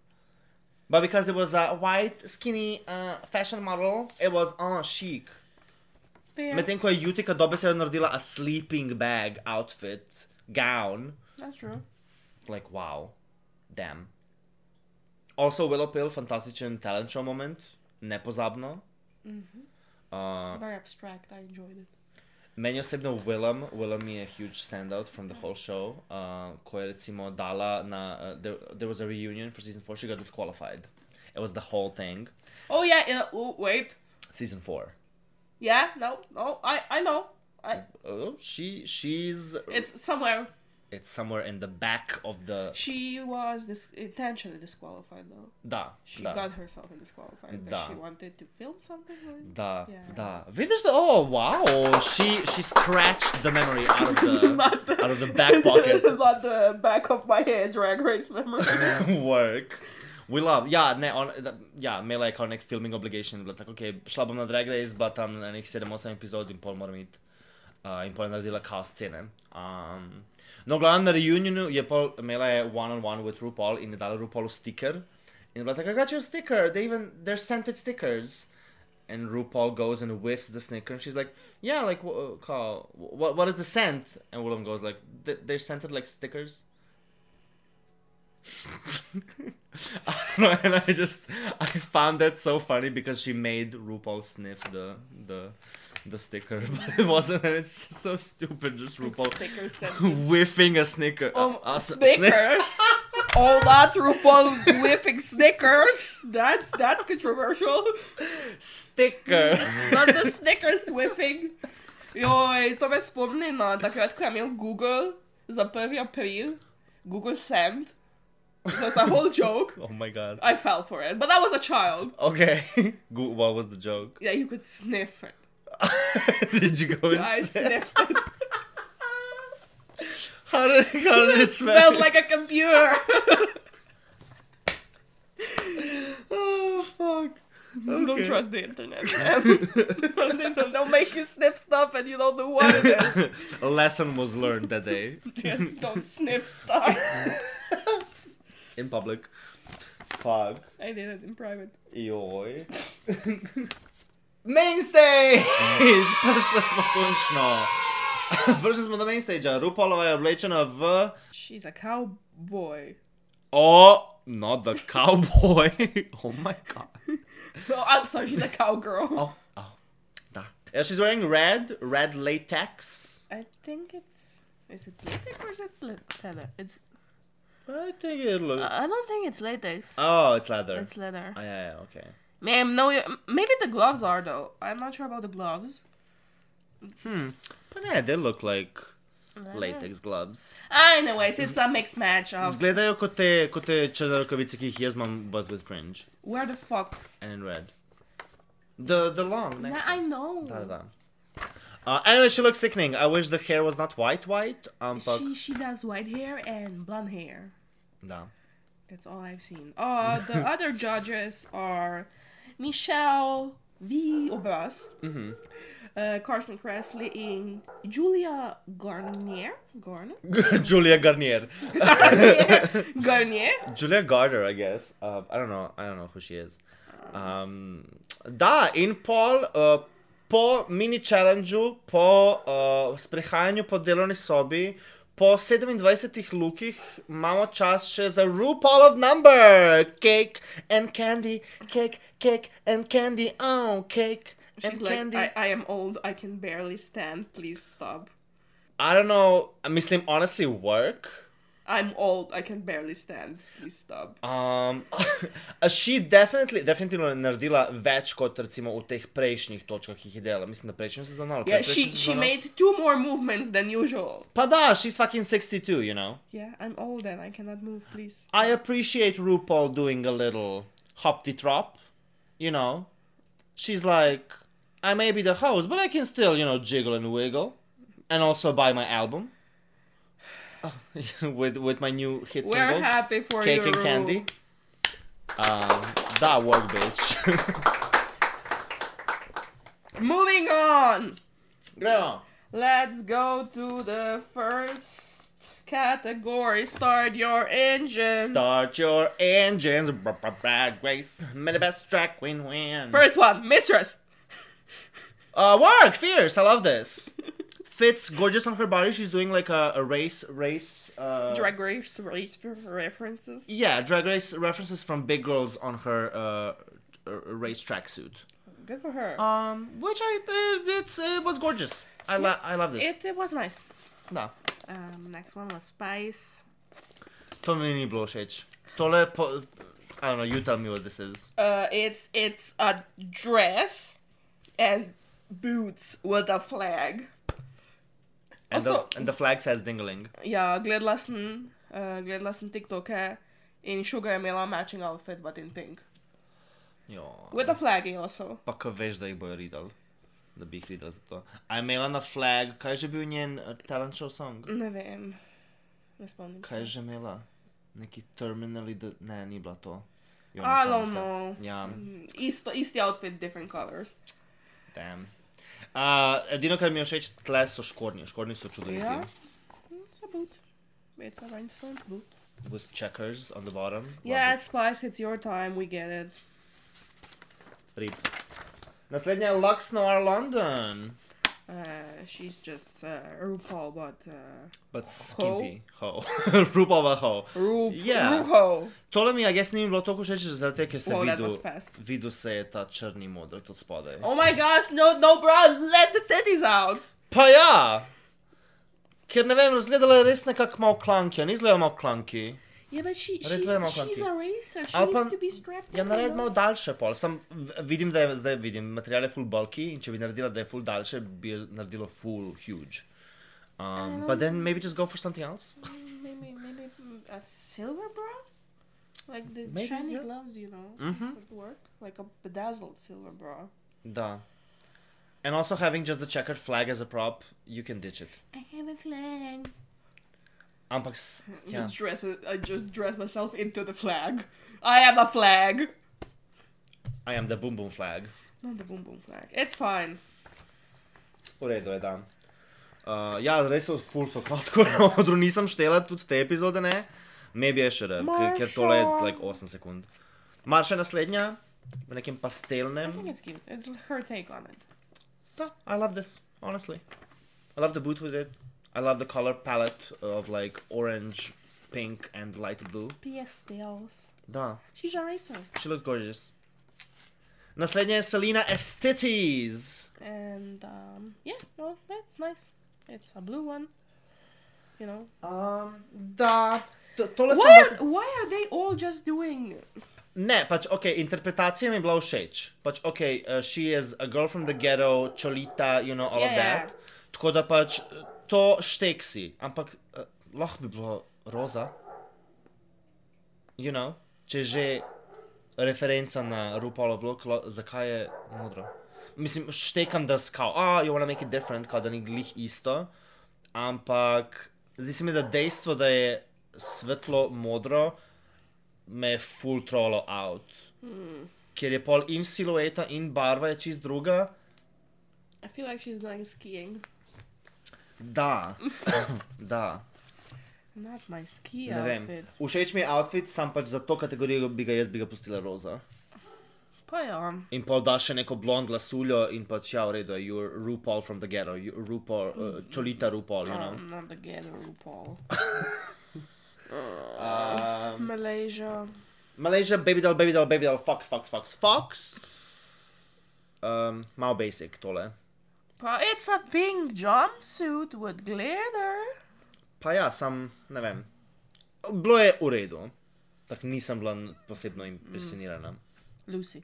S2: But because it was a white, skinny uh, fashion model, it was, oh, chic. Medtem ko je Utica dobesedno naredila a sleeping bag outfit, gown,
S1: That's true.
S2: like wow, damn. Also Willow Pill, fantastičen talent show moment, nepozabno. Uh,
S1: It's very abstract. I enjoyed it.
S2: meni osebno Willem, Willem je huge standout from the whole show, uh, ko je recimo dala na, uh, there, there was a reunion for season 4, she got disqualified. It was the whole thing,
S1: Oh yeah. yeah oh, wait.
S2: season 4.
S1: Yeah. No. No. I. I know. I,
S2: Oh, she, she's,
S1: it's somewhere.
S2: it's somewhere in the back of the,
S1: She was dis- intentionally disqualified though.
S2: da,
S1: She
S2: da.
S1: got herself in disqualified.
S2: Da.
S1: because She wanted to film something. Right?
S2: Da,
S1: Yeah.
S2: da. Vidiš, da, oh, wow, she, she scratched the memory out of the, out of the back pocket
S1: Not the back of my head, drag race memory.
S2: work. We love, ja, ne, on, da, ja, imela je kao nek filming obligation, bila tako, ok, šla bom na Drag Race, um, bila tam na nekih 7-8 epizod in pol moram iti. Uh, in pol je naredila kao scene. eh? Um, no, glavno na reunionu je pol, imela je one-on-one with RuPaul in je dala RuPaulu sticker. In je bila tako, I got your sticker, they even, they're scented stickers. and RuPaul goes and whiffs the snicker, and she's like, "Yeah, like, wh- call, what, what is the scent?" And Willem goes like, "Th- "They're scented like stickers." I don't know, and I just I found that so funny because she made RuPaul sniff the the the sticker, but it wasn't, and it's so stupid. Just RuPaul
S1: Stickers sent.
S2: whiffing a snicker.
S1: Um,
S2: a s- snick-
S1: Snickers. All that RuPaul whiffing Snickers. That's that's controversial.
S2: sticker.
S1: Not the Snickers whiffing. Joj, to me spomni na takrat, ko je imel Google za 1. april, Google Send. It was a whole joke.
S2: oh my god.
S1: I fell for it, but I was a child.
S2: Okay, Go- what was the joke?
S1: Yeah, you could sniff it.
S2: Did you go? and
S1: I
S2: sniff?
S1: sniffed it.
S2: How did, how did it smell?
S1: Smelled like a computer.
S2: Oh, fuck.
S1: Don't
S2: Okay.
S1: trust the internet. man. They'll they'll make you sniff stuff and you don't know what it is.
S2: A lesson was learned that day
S1: Just don't sniff stuff.
S2: in public. Fuck.
S1: I did it in private.
S2: Joj. Mainstage! Prišli smo končno Prišli smo do main stage, Rupolova je oblečena v.
S1: She's a cowboy.
S2: O, not the cowboy. oh my god.
S1: No, I'm sorry, she's a cowgirl.
S2: Oh, oh. Da. Yeah, she's wearing red, red latex.
S1: I think it's. Is it latex or is it le- leather? It's.
S2: I think it looks.
S1: I don't think it's latex.
S2: oh, it's leather.
S1: Uh, It's leather.
S2: oh, yeah, yeah, okay.
S1: Ma'am, no, you- maybe the gloves are though. I'm not sure about the gloves.
S2: Hmm. But yeah, they look like
S1: Uh-huh.
S2: latex gloves.
S1: Ah, anyways, it's a mixed match of
S2: Izgledajo kot te, kot te črne rokavice, ki jih jaz imam, but with fringe
S1: where the fuck.
S2: and in red. The the long.
S1: Yeah,
S2: neck.
S1: I know.
S2: Da, da. Uh, anyway, she looks sickening. I wish the hair was not white, white. um, Ampak.
S1: She she does white hair and blonde hair.
S2: Da.
S1: That's all I've seen. Uh, the other judges are Michelle V. Obras,
S2: Mm-hmm.
S1: uh, Carson Kressley, and Julia Garnier. Garnier?
S2: Julia Garnier.
S1: Garnier?
S2: Julia Garner, I guess. Uh, I don't know. I don't know who she is. Um, da, in pol, uh, po mini challengeu, po uh, sprehajanju po delovni sobi, po 27 lukih imamo čas še za RuPaul of Number. Cake and candy, cake, cake and candy, oh, cake
S1: She's
S2: and
S1: like,
S2: candy.
S1: I, I am old, I can barely stand, please stop.
S2: I don't know. Mislim, honestly, work.
S1: I'm old, I can barely stand, please stop.
S2: Um, a she definitely, definitivno je naredila več kot recimo v teh prejšnjih točkah, ki jih je delala. Mislim, da prejšnjo sezono. ali
S1: Yeah,
S2: predprejšnjo
S1: she, she
S2: sezono.
S1: made two more movements than usual.
S2: Pa da, she's fucking 62, you know.
S1: Yeah, I'm old and I cannot move, please.
S2: I appreciate RuPaul doing a little hopty trop, you know. She's like, I may be the host, but I can still, you know, jiggle and wiggle. And also buy my album. with, with my new hit
S1: We're
S2: single.
S1: happy for
S2: Cake
S1: you.
S2: and candy. Um, that work, bitch.
S1: Moving on!
S2: Gremo.
S1: Let's go to the first category. Start your engine.
S2: Start your engines. Bra- bra- Drag race. May the best drag queen win.
S1: First one, mistress.
S2: Uh, work. Fierce. I love this. Fits gorgeous on her body. She's doing like a, a race, race. Uh,
S1: Drag race, race for references.
S2: Yeah, drag race references from big girls on her uh, uh, race tracksuit.
S1: Good for her.
S2: Um, which I uh, it's it was gorgeous. I lo- I loved it.
S1: it, it was nice.
S2: Da.
S1: Um, next one was Spice.
S2: To mi ni bilo všeč. Tole po, I don't know. You tell me what this is.
S1: Uh, it's it's a dress and boots with a flag.
S2: And
S1: Also-
S2: the and the flag says dingling.
S1: Yeah, gledala sem, uh, gledala sem TikToke eh? in Sugar je imela matching outfit, but in pink.
S2: Jo.
S1: With a flag also.
S2: pa ko veš, da jih bojo ridali, da bi jih ridali za to. A je imela na flag, kaj je že bil njen uh, talent show song?
S1: Ne vem. Ne spomnim
S2: Kaj je
S1: se.
S2: že imela? Neki terminali, da ne, ni bila to. Jo, ne
S1: I
S2: spomnim
S1: don't
S2: se.
S1: know.
S2: Ja,
S1: Isto, Mm, isti outfit, different colors.
S2: damn. Uh, edino, kar mi je všeč, tle so škornji, škornji so čudoviti.
S1: Ja. It's a boot. It's a rhinestone boot.
S2: With checkers on the bottom. Love
S1: Yeah,
S2: it.
S1: Spice, it's your time. We get it.
S2: Rip. Naslednja je Lux Noir London.
S1: Uh, she's just uh, RuPaul, but uh,
S2: But skimpy. Ho. Rupava ho.
S1: Ru
S2: Yeah.
S1: RuPaul.
S2: Tole mi, a jaz ni mi bilo toliko všeč, zaradi tega, ker sem
S1: Wow, Oh, that
S2: videl,
S1: was fast.
S2: videl se je ta črni model od spodaj.
S1: Oh my gosh! No, no, bra, let the titties out.
S2: Pa ja! Ker ne vem, izgledala je res nekako malo klanki, ni izgledala malo klanki.
S1: Yeah, but she she's,
S2: Res vemo,
S1: she's
S2: Kati.
S1: a racer. She
S2: Ali pa-
S1: needs to be strapped.
S2: Ja,
S1: in,
S2: nared
S1: you
S2: malo
S1: know?
S2: daljše pol, sem v- vidim, da je zdaj vidim, material je full bulky in če bi naredila, da je full daljše, bi je naredilo full huge. Um, but then maybe just go for something else.
S1: Maybe maybe mm, a silver bra, like the
S2: Maybe,
S1: shiny
S2: yeah.
S1: gloves, you know,
S2: Mhm.
S1: would work. Like a bedazzled silver bra.
S2: Da. And also having just the checkered flag as a prop, you can ditch it.
S1: I have a flag.
S2: Ampak, s- ja.
S1: Just dress it- I just dress myself into the flag. I am a flag.
S2: I am the boom boom flag.
S1: Not the boom boom flag. It's fine.
S2: V redu je, da. Uh, ja, res so ful so kratko na odru, nisem štela tudi te epizode, ne. Maybe je še rev, ker, ker tole je
S1: Marša.
S2: like 8 sekund. Mar še naslednja, v nekem
S1: I
S2: Um,
S1: think
S2: pastelnem.
S1: it's cute. It's her take on it.
S2: Da, I love this, honestly. I love the boot with it. I love the color palette of like orange, pink, and light blue.
S1: P.S. Tails.
S2: Da,
S1: She's a racer.
S2: she looks gorgeous. Naslednja je Selena Estetes.
S1: And um, yeah, well, that's nice. It's a blue one. You know.
S2: Um, da, to, tole sem...
S1: Why
S2: hot-
S1: are, why are they all just doing
S2: Ne, pač ok, interpretacija mi je bila všeč. Pač ok, uh, she is a girl from the ghetto, čolita, you know, all yeah,
S1: Ja,
S2: of
S1: ja.
S2: that. Yeah. Tako da pač eh, to šteksi, ampak uh, lahko bi bilo roza. You know, če je že referenca na RuPaulov vlog, lo- zakaj je modro. Mislim, štekam, da skao, ah, you wanna make it different, kao da ni glih isto, ampak zdi se mi, da dejstvo, da je svetlo modro, me je full trollo out. Mm. Ker je pol in silueta, in barva je čist druga.
S1: I feel like she's going skiing.
S2: Da, da.
S1: Not my ski
S2: Ne vem.
S1: Ja, outfit.
S2: Všeč mi je outfit, sam pač za to kategorijo bi ga jaz bi ga pustila roza.
S1: Pa ja.
S2: In pol da še neko blond lasuljo in pač ja, v redu, you're RuPaul from the ghetto, you, RuPaul, uh, čolita RuPaul, you know.
S1: Um, not the ghetto RuPaul.
S2: Um,
S1: Malaysia.
S2: Malaysia, baby doll, baby doll, baby doll, fox, fox, fox, fox. Um, malo basic tole.
S1: Pa it's a pink jumpsuit with glitter.
S2: Pa ja, sam ne vem. Bilo je v redu, no. tako nisem bila n- posebno impresionirana.
S1: Lucy.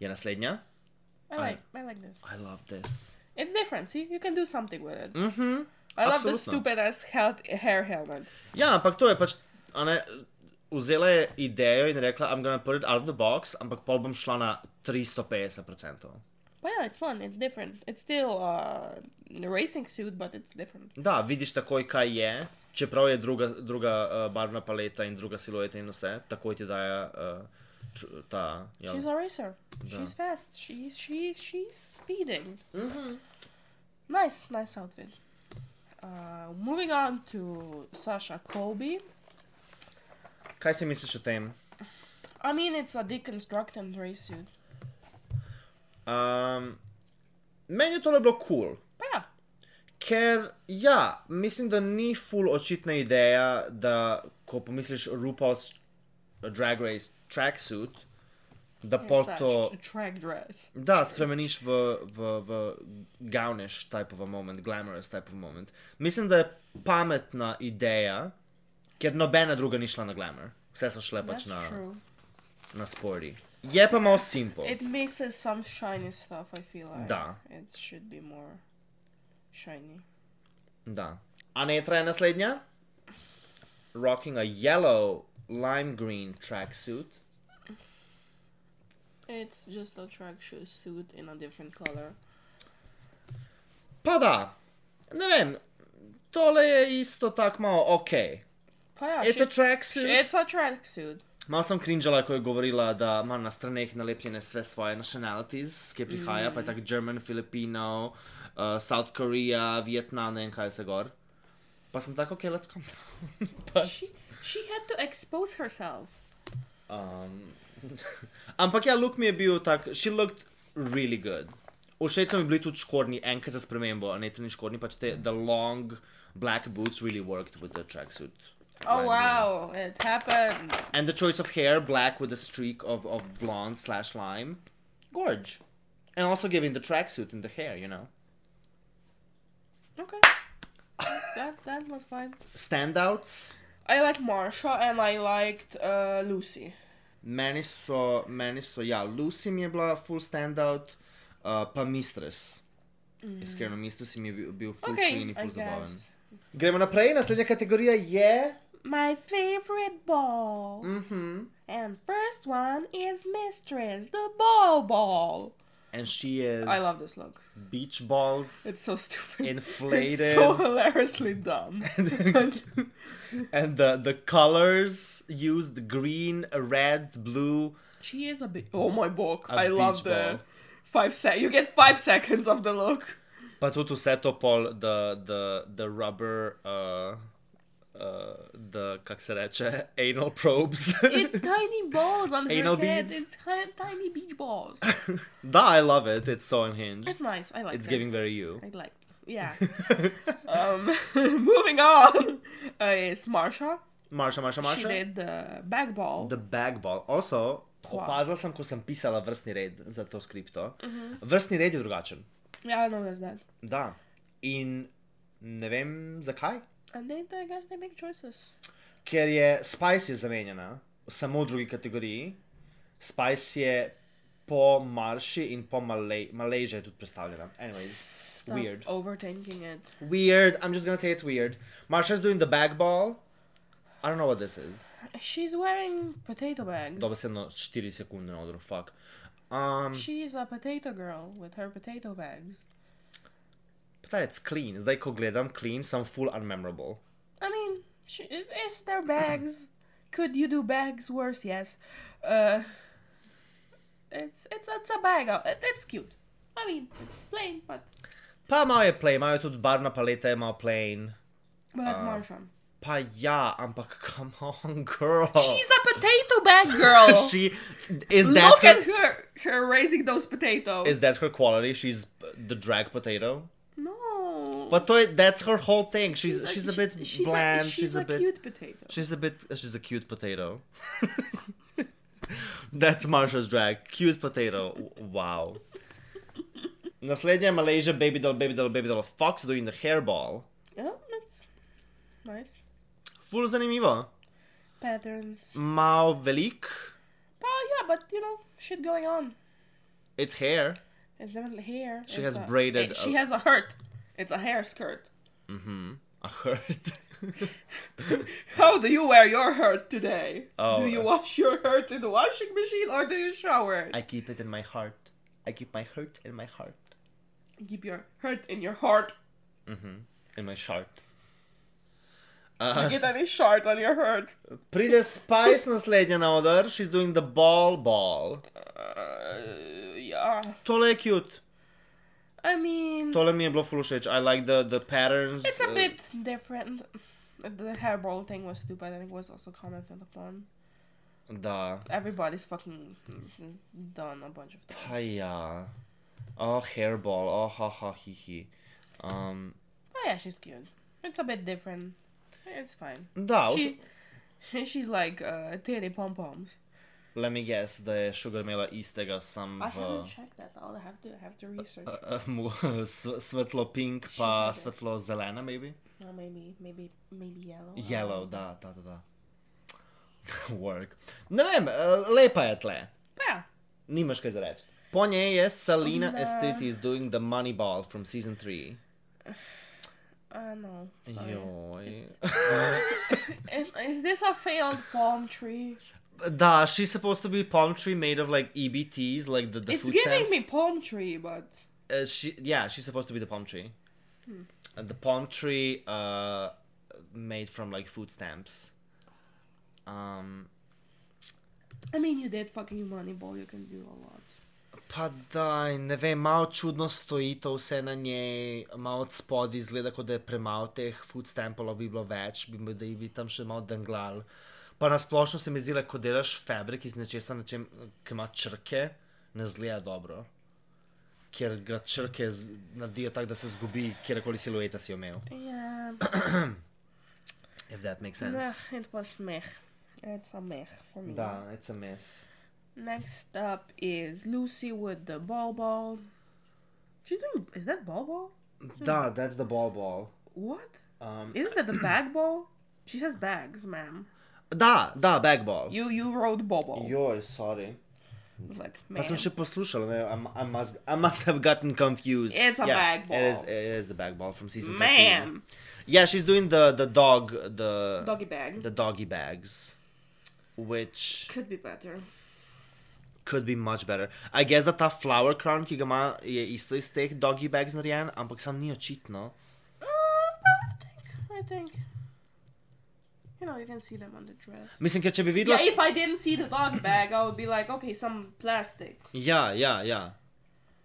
S2: Je naslednja?
S1: I like I like this.
S2: I love this.
S1: It's different, see? You can do something with it. Mm-hmm. I love the
S2: Absolutno.
S1: stupid ass health, hair helmet.
S2: Ja, ampak to je pač. a Ne, vzela je idejo in rekla, I'm gonna put it out of the box, ampak pol bom šla na 350%.
S1: But yeah, it's fun. It's different. It's still uh, a racing suit, but it's different.
S2: Da, vidiš takoj, kaj je, čeprav je druga, druga uh, barvna paleta in druga silueta in vse, takoj ti daje uh, ču, ta. Ja.
S1: She's a racer. She's fast. She's she she's speeding. Mm-hmm. Nice, nice outfit. Uh, moving on to Sasha Colby.
S2: Kaj si misliš o tem?
S1: I mean, it's a deconstructed race suit.
S2: Um, meni je tole bilo kul. Cool.
S1: But yeah,
S2: Ker, ja, mislim, da ni full očitna ideja, da ko pomisliš RuPaul's Drag Race tracksuit, da pol
S1: it's a
S2: to,
S1: tr- track dress.
S2: da spremeniš v, v, v gavnish type of a moment, glamorous type of moment. Mislim, da je pametna ideja, ker nobena druga ni šla na glamour. Vse so šle
S1: That's
S2: pač na,
S1: true.
S2: na sporty. Je pa malo simple.
S1: It misses some shiny stuff. I feel like
S2: Da.
S1: it should be more shiny.
S2: Da. Anetra je naslednja. Rocking a yellow lime green tracksuit.
S1: It's just a tracksuit suit in a different color.
S2: Pa da, ne vem, tole je isto tako malo ok.
S1: But yeah,
S2: It's a
S1: she-
S2: tracksuit.
S1: It's a tracksuit.
S2: Malo sem krinžala, ko je govorila, da ima na straneh nalepljene sve svoje nationalities, ki prihaja, mm. pa je tako German, Filipino, uh, South Korea, Vietnam ne in kaj se gor. Pa sem tako, ok, let's come down. pa,
S1: She she had to expose herself.
S2: Um, ampak ja, look mi je bil tak, she looked really good. Všeč so mi bili tudi škornji, enkrat za spremembo, a ne tudi škornji, pač te the long black boots really worked with the tracksuit.
S1: Oh
S2: Right,
S1: wow, it happened.
S2: And the choice of hair, black with a streak of, of blonde slash lime. Gorge. And also giving the tracksuit and the hair, you know.
S1: Okay. that that was fine.
S2: Standouts.
S1: I like Marsha and I liked uh, Lucy.
S2: Meni so, meni so, ja, Lucy mi je bila full standout, uh, pa Mistress. Mm. Iskreno, Mistress mi je bil, bil full okay, clean
S1: Okay,
S2: in
S1: I
S2: full zabaven.
S1: guess.
S2: Gremo naprej, naslednja kategorija je.
S1: My favorite ball. Mm-hmm. And first one is Mistress, the ball ball.
S2: And she is
S1: I love this look.
S2: beach balls
S1: It's so stupid.
S2: Inflated.
S1: It's so hilariously dumb.
S2: and the, the colors used green, red, blue.
S1: she is a bit. Oh my book!
S2: A
S1: I
S2: beach
S1: love the
S2: ball.
S1: five sec. You get five seconds of the look.
S2: Pa tudi vse to pol, the, the, the rubber, uh, uh, the, kak se reče, anal probes.
S1: It's tiny balls on her
S2: Anal
S1: head.
S2: beads?
S1: It's kind of tiny beach balls.
S2: da, I love it, it's so unhinged.
S1: It's nice. I like
S2: It's
S1: it.
S2: giving very you.
S1: I like. it. Yeah. um, moving on uh, is Marsha.
S2: Marsha, Marsha,
S1: She
S2: Marsha.
S1: did the bag ball.
S2: The bag ball. Also,
S1: Wow.
S2: opazila sem, ko sem pisala vrstni red za to skripto.
S1: Mhm.
S2: Vrstni red je drugačen.
S1: yeah, I know there's that.
S2: Da. In ne vem zakaj.
S1: And then I guess they make choices.
S2: Ker je Spice je zamenjena, samo v drugi kategoriji. Spice je po Marši in po Malej, Malejži je tudi predstavljena. Anyways,
S1: Stop
S2: Weird.
S1: overthinking it.
S2: weird. I'm just gonna say it's weird. Marsha's doing the bag ball. I don't know what this is.
S1: She's wearing potato bags.
S2: Dobesedno 4 sekunde na odru, fuck. Um,
S1: She's a potato girl with her potato bags.
S2: pa da je clean, zdaj ko gledam clean, sem full unmemorable.
S1: I mean, she, it- it's their bags. Could you do bags worse? Yes. Uh, it's it's it's a bag. uh, It, it's cute. I mean, it's plain, but
S2: Pa malo je plain, imajo tudi barvna paleta, je malo plain.
S1: but
S2: Uh,
S1: it's Marsha.
S2: Pa ja, ampak come on, girl.
S1: She's a potato bag girl.
S2: she is Oh. that
S1: Look
S2: her,
S1: at her her raising those potatoes.
S2: is that her quality? She's the drag potato.
S1: no.
S2: But to, that's her whole thing. She's she's, a, bit
S1: she's
S2: bland.
S1: A,
S2: she's, a, bit
S1: cute potato.
S2: she's a bit she's a cute potato. that's Marsha's drag. Cute potato. Wow. Naslednja je Malaysia baby doll baby doll baby doll Fox doing the hairball.
S1: Yeah, Oh, that's nice.
S2: Ful zanimivo.
S1: Patterns.
S2: Mal velik.
S1: Oh yeah, but you know, shit going on.
S2: It's hair.
S1: It's definitely hair.
S2: She has
S1: It's a-
S2: braided
S1: it- she
S2: a-
S1: has a hurt. It's a hair skirt.
S2: A hurt.
S1: How do you wear your hurt today?
S2: Oh,
S1: do you
S2: uh,
S1: wash your hurt in the washing machine or do you shower?
S2: I keep it in my heart. I keep my hurt in my heart.
S1: Keep your hurt in your heart.
S2: In my shart. Uh,
S1: Get any shard on your hurt.
S2: pride Spice naslednja na oder, she's doing the ball ball.
S1: Uh, yeah.
S2: Tole je cute,
S1: I mean,
S2: tole mi je bilo ful všeč. I like the, the patterns.
S1: it's a
S2: uh,
S1: bit different. The hairball thing was stupid and it was also commented upon.
S2: Da.
S1: Everybody's fucking done a bunch of things.
S2: Pa ja. Oh, hairball, oh, ha, ha, hi, hi. Um,
S1: Oh yeah, she's cute. It's a bit different. It's fine.
S2: da, also,
S1: She, she, she's like uh, titty pom poms.
S2: let me guess, da je Sugar imela istega sam
S1: I
S2: v...
S1: haven't checked that out. I have to I have to research.
S2: Uh-huh. uh, mu- s- svetlo pink, pa svetlo zelena, maybe?
S1: Or maybe maybe maybe yellow. I don't
S2: Yellow,
S1: know.
S2: da, da, da. da. Work. Ne vem, eh, lepa je tle.
S1: Pa ja.
S2: Nimaš kaj za reči. Po njej je Salina
S1: Ne.
S2: Estetis doing the money ball from season 3.
S1: Uh, no. sorry.
S2: Joj.
S1: Is, is this a failed palm tree?
S2: da, she's supposed to be palm tree made of like EBTs, like the, the
S1: it's
S2: food
S1: giving
S2: stamps.
S1: me palm tree, but
S2: Uh, she, yeah, she's supposed to be the palm tree.
S1: Hmm.
S2: And the palm tree uh, made from like food stamps. Um,
S1: I mean, you did fucking Moneyball. You can do a lot.
S2: Pa da, ne vem, malo čudno stoji to vse na njej, malo od spodaj izgleda, kot da je premalo teh food stampolov, bi bilo več, bi, da bi tam še malo denglal. Pa nasplošno se mi zdi, da ko delaš fabrik iz nečesa, na čem, ki ima črke, ne zgleda dobro. Ker ga črke z- naredijo tako, da se zgubi, kjerkoli silueta si jo imel.
S1: Yeah.
S2: If that makes
S1: meh,
S2: sense.
S1: it was meh. It's a meh for me.
S2: Da, it's a mess.
S1: Next up is Lucy with the ball ball. She's doing. Is that ball ball?
S2: Da, that's the ball ball.
S1: What?
S2: Um,
S1: Isn't that the bag ball? She has bags, ma'am.
S2: da, da, bag ball.
S1: You you wrote ball ball.
S2: Joj, sorry.
S1: It's like
S2: Pa
S1: ma'am.
S2: sem še poslušal, ne, I, mu- I, must, I must have gotten confused.
S1: It's a bag
S2: It is,
S1: ball.
S2: it is the bag ball from season Man.
S1: ma'am.
S2: Yeah, she's doing the, the dog, the,
S1: Doggy bag.
S2: Uh, the doggy bags, which
S1: Could be better.
S2: could be much better. I guess da ta flower crown, ki ga ima, je isto iz teh doggy bags narejen, ampak sam ni očitno.
S1: Uh, I think. I think. You know, you can see them on the dress.
S2: Mislim, ker če bi videla...
S1: Yeah, if I didn't see the dog bag, I would be like, okay, some plastic.
S2: Ja, ja, ja.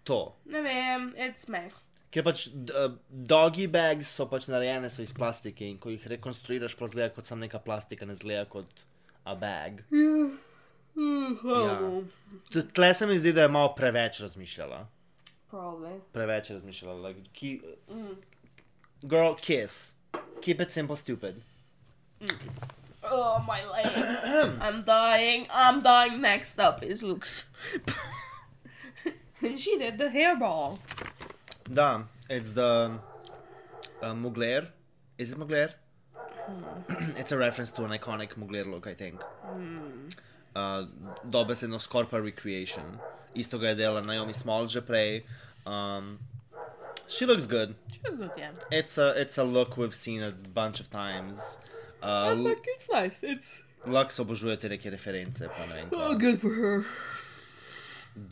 S2: To.
S1: No, ma'am, it's meh.
S2: Ker pač uh, doggy bags so pač narejene so iz plastike in ko jih rekonstruiraš, pa zgleda kot samo neka plastika, ne zgleda kot a bag.
S1: Oh,
S2: T- Tle se mi zdi, da je malo preveč razmišljala.
S1: Probably.
S2: Preveč je razmišljala. Like, ki, Girl, kiss. Keep it simple, stupid.
S1: Oh, my leg. I'm dying. I'm dying. Next up is Luke's. and she did the hairball.
S2: Da, it's the uh, Mugler. Is it Mugler? it's a reference to an iconic Mugler look, I think. Uh, dobesedno Scorpa recreation. Isto ga je delala Naomi Small že prej. Um, she looks good.
S1: She was good, yeah.
S2: It's a it's a look we've seen a bunch of times.
S1: But,
S2: Uh,
S1: like, it's nice. It's
S2: Lux obožuje te neke reference, pa ne vem. kaj.
S1: oh, good for her.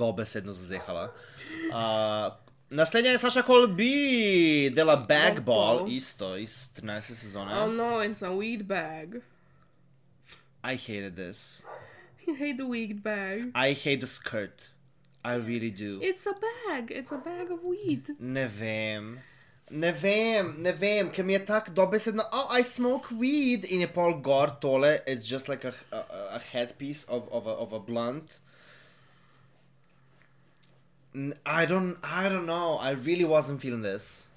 S2: dobesedno zazehala. Uh, naslednja je Saša Kolbi, dela Bagball,
S1: Bagball.
S2: isto iz 13. sezone.
S1: Oh no, it's a weed bag.
S2: I hated this.
S1: You hate the weed bag.
S2: I hate the skirt. I really do.
S1: It's a bag. It's a bag of weed.
S2: Ne vem. Ne vem, ne vem, ker mi je tako dobesedno, oh, I smoke weed in je pol gor tole, it's just like a, a, a headpiece of, of, a, of a blunt. N- I don't, I don't know, I really wasn't feeling this.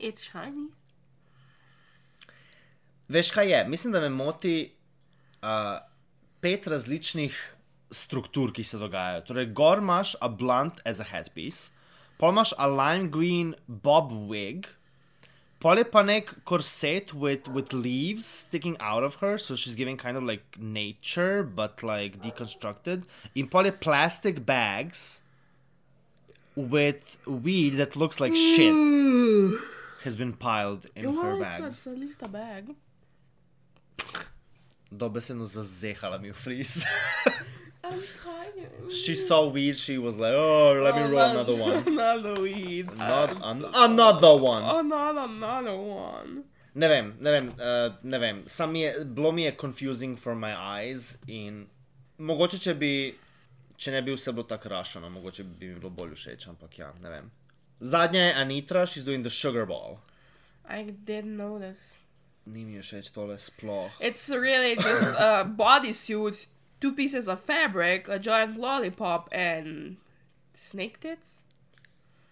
S1: It's shiny.
S2: Veš kaj je? Mislim, da me moti uh, pet različnih struktur, ki se dogajajo. Torej, gor imaš a blunt as a headpiece, pol imaš a lime green bob wig, pol je pa nek korset with, with leaves sticking out of her, so she's giving kind of like nature, but like deconstructed, in pol je plastic bags with weed that looks like shit
S1: Mm.
S2: has been piled in her
S1: Well, it's,
S2: bags.
S1: it's at least a bag.
S2: dobesedno zazehala mi v fris.
S1: I'm tired.
S2: she saw weed, she was like, oh, let me roll another one.
S1: Another weed.
S2: Not an another one.
S1: Oh, not another one.
S2: Ne vem, ne vem, uh, ne vem. Sam mi je, bilo mi je confusing for my eyes in mogoče, če bi, če ne bi vse bilo tako rašano, mogoče bi mi bilo bolj všeč, ampak ja, ne vem. Zadnja je Anitra, she's doing the sugar ball.
S1: I didn't notice.
S2: Ni mi všeč tole sploh.
S1: It's really just a bodysuit, two pieces of fabric, a giant lollipop, and snake tits.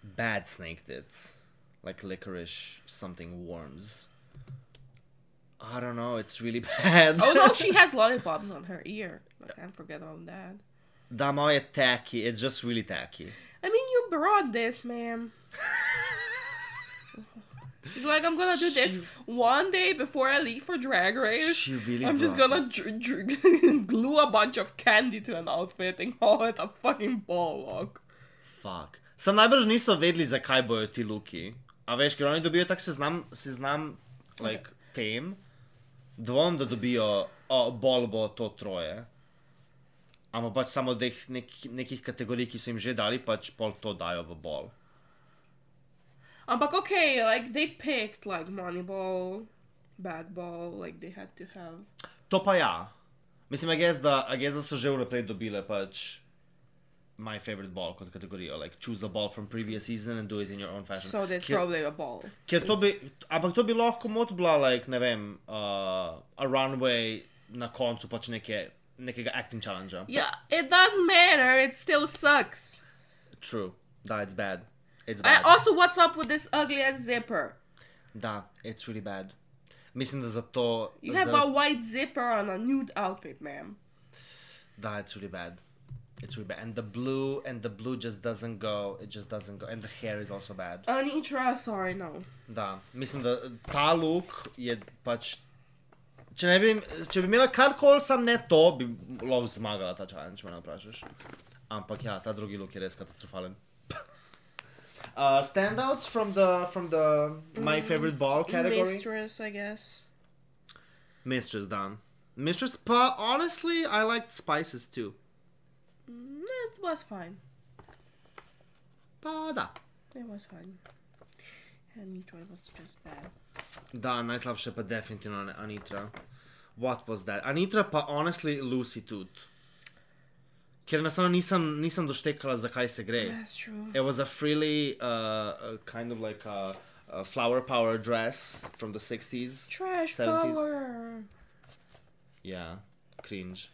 S2: Bad snake tits. Like licorice something worms. I don't know, it's really bad.
S1: Oh no, she has lollipops on her ear. I can't forget about that.
S2: Da, malo je oh, tacky, it's just really tacky.
S1: I mean, you brought this, ma'am. It's like I'm gonna do this one day before I leave for Drag Race.
S2: She really
S1: I'm just
S2: brought
S1: gonna
S2: this.
S1: dr- dr- glue a bunch of candy to an outfit and call it a fucking ball walk.
S2: Fuck. Sam najbrž niso vedeli, zakaj bojo ti luki. A veš, ker oni dobijo tak seznam, seznam like, tem, dvom, da dobijo, o, bol bo to troje. Ampak pač samo od teh nek, nekih kategorij, ki so jim že dali, pač pol to dajo v bol.
S1: Ampak okay, like they picked like Moneyball, Bagball, like they had to have.
S2: To pa ja. Mislim, I guess, da, I guess, da so že vnaprej dobile pač my favorite ball kot kategorijo. Like, choose a ball from previous season and do it in your own fashion.
S1: So that's
S2: Ker-
S1: probably a ball.
S2: Ker to bi, ampak to bi lahko mod bila, like, ne vem, uh, a runway na koncu pač neke, nekega acting challengea.
S1: Yeah, it doesn't matter. It still sucks.
S2: True, da, it's bad. It's
S1: I
S2: bad.
S1: also, what's up with this ugly ass zipper?
S2: Da, it's really bad. Mislim, da zato.
S1: You have
S2: za-
S1: a white zipper on a nude outfit, ma'am.
S2: Da, it's really bad. It's really bad. And the blue, and the blue just doesn't go. It just doesn't go. And the hair is also bad.
S1: Anitra, sorry, no.
S2: Da, mislim, da ta look je pač. Če, ne bi, če bi imela karkoli, sam ne to, bi lahko zmagala ta challenge, če me ne vprašaš. Ampak ja, ta drugi look je res katastrofalen. Uh, standouts from the from the my favorite ball category.
S1: Mistress, I guess.
S2: Mistress, da. Mistress, pa honestly, I liked spices too.
S1: Mm, It was fine.
S2: Pa da.
S1: It was fine. Anitra was just bad.
S2: Da, najslabše pa definitivno ne, Anitra. What was that? Anitra pa honestly Lucy tudi. Ker enostavno nisem, nisem doštekala, zakaj se gre.
S1: That's true.
S2: It was a frilly, uh, uh, kind of like a, a flower power dress from the 60s.
S1: Trash
S2: 70s.
S1: power.
S2: Ja, cringe.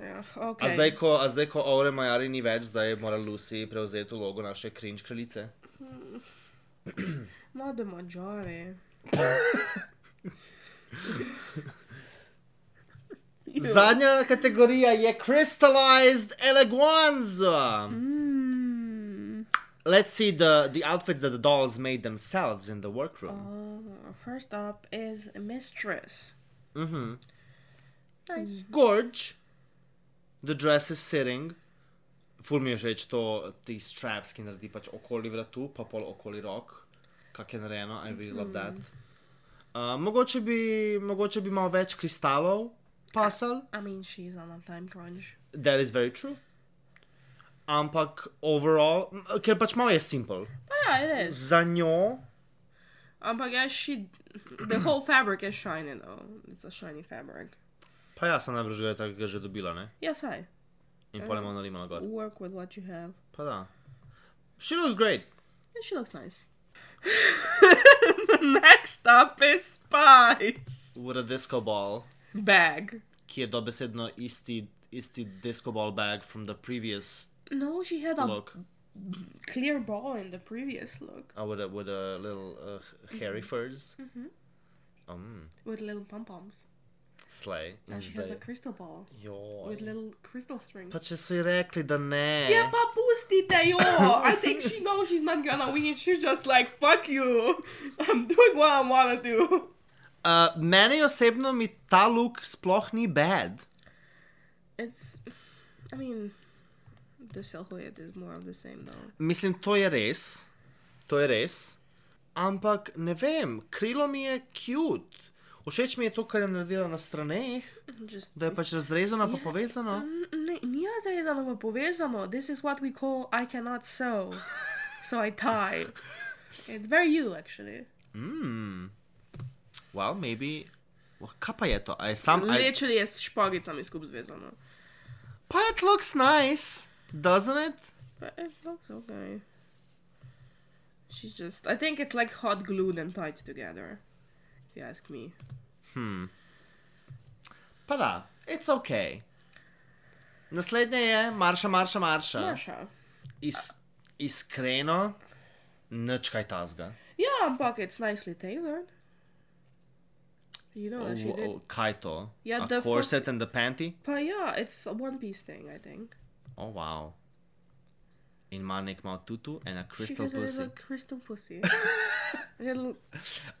S1: Yeah,
S2: A
S1: okay.
S2: zdaj, ko, a zdaj, ko Ore Majari ni več, zdaj mora Lucy prevzeti vlogo naše cringe kraljice.
S1: Not the Mađari.
S2: Zadnja kategorija je crystallized eleganza.
S1: Mm.
S2: Let's see the, the outfits that the dolls made themselves in the workroom.
S1: Uh, first up is Mistress.
S2: Mm-hmm.
S1: Nice.
S2: Gorge, the dress is sitting. Ful mi je všeč to, ti straps, ki naredi pač okoli vratu, pa pol okoli rok, kak je narejeno, I really love that. Uh, mogoče, bi, mogoče bi malo več kristalov pasal,
S1: I mean, she's on a time crunch.
S2: that is very true. Ampak overall, m, ker pač malo je simple.
S1: But Oh, yeah, it is.
S2: Za njo,
S1: Mm. Um, I guess she. The whole fabric is shiny though. It's a shiny fabric.
S2: pa jaz sem najbrž ga takega že dobila, ne?
S1: Yes, I.
S2: In pol je malo narima na gor.
S1: Work with what you have.
S2: Pa da. She looks great.
S1: And she looks nice. Next up is Spice.
S2: With a disco ball.
S1: Bag.
S2: ki je dobesedno isti, isti disco ball bag from the previous
S1: No, she had a
S2: look
S1: clear ball in the previous look
S2: uh, with, a, with a little uh, h- hairy
S1: Mm-hmm.
S2: furs. Um,
S1: with little pom poms.
S2: slay. In
S1: And she has a
S2: zdaj-
S1: crystal ball with Ja,
S2: Joj.
S1: little crystal strings.
S2: Pa če so ji rekli, da ne.
S1: Yeah, but pustite yo! I think she knows she's not gonna win. She's just like, fuck you. I'm doing what I wanna do.
S2: Uh, meni osebno mi ta look sploh ni bad.
S1: It's. I mean, the silhouette is more of the same though.
S2: Mislim, to je res. To je res. Ampak ne vem, krilo mi je cute. Všeč mi je to, kar je naredila na straneh,
S1: Just.
S2: da je pač razrezana
S1: Ja.
S2: pa povezana.
S1: Ne, nije zajedano povezano. This is what we call I cannot sew. So I tie. It's very you, actually. Mhm.
S2: Mm. Well, maybe. Well, kaj pa je to? A je sam. A je...
S1: Literally je s špagicami skup zvezano.
S2: Pa it looks nice, doesn't it?
S1: But it looks okay. She's just. I think it's like hot glued and tied together. If you ask me.
S2: Pa da, it's okay. Naslednje je marša, marša, marša.
S1: Maša.
S2: Is, iskreno, nič kaj tasga.
S1: Yeah, ampak it's nicely tailored. You know
S2: Oh,
S1: that she did.
S2: Kaj to?
S1: Ja,
S2: A
S1: the
S2: corset and the panty?
S1: But yeah, it's a one piece thing, I think.
S2: Oh, wow. In ima nek mal tutu and a
S1: She
S2: crystal
S1: has a
S2: pussy.
S1: little crystal pussy. little,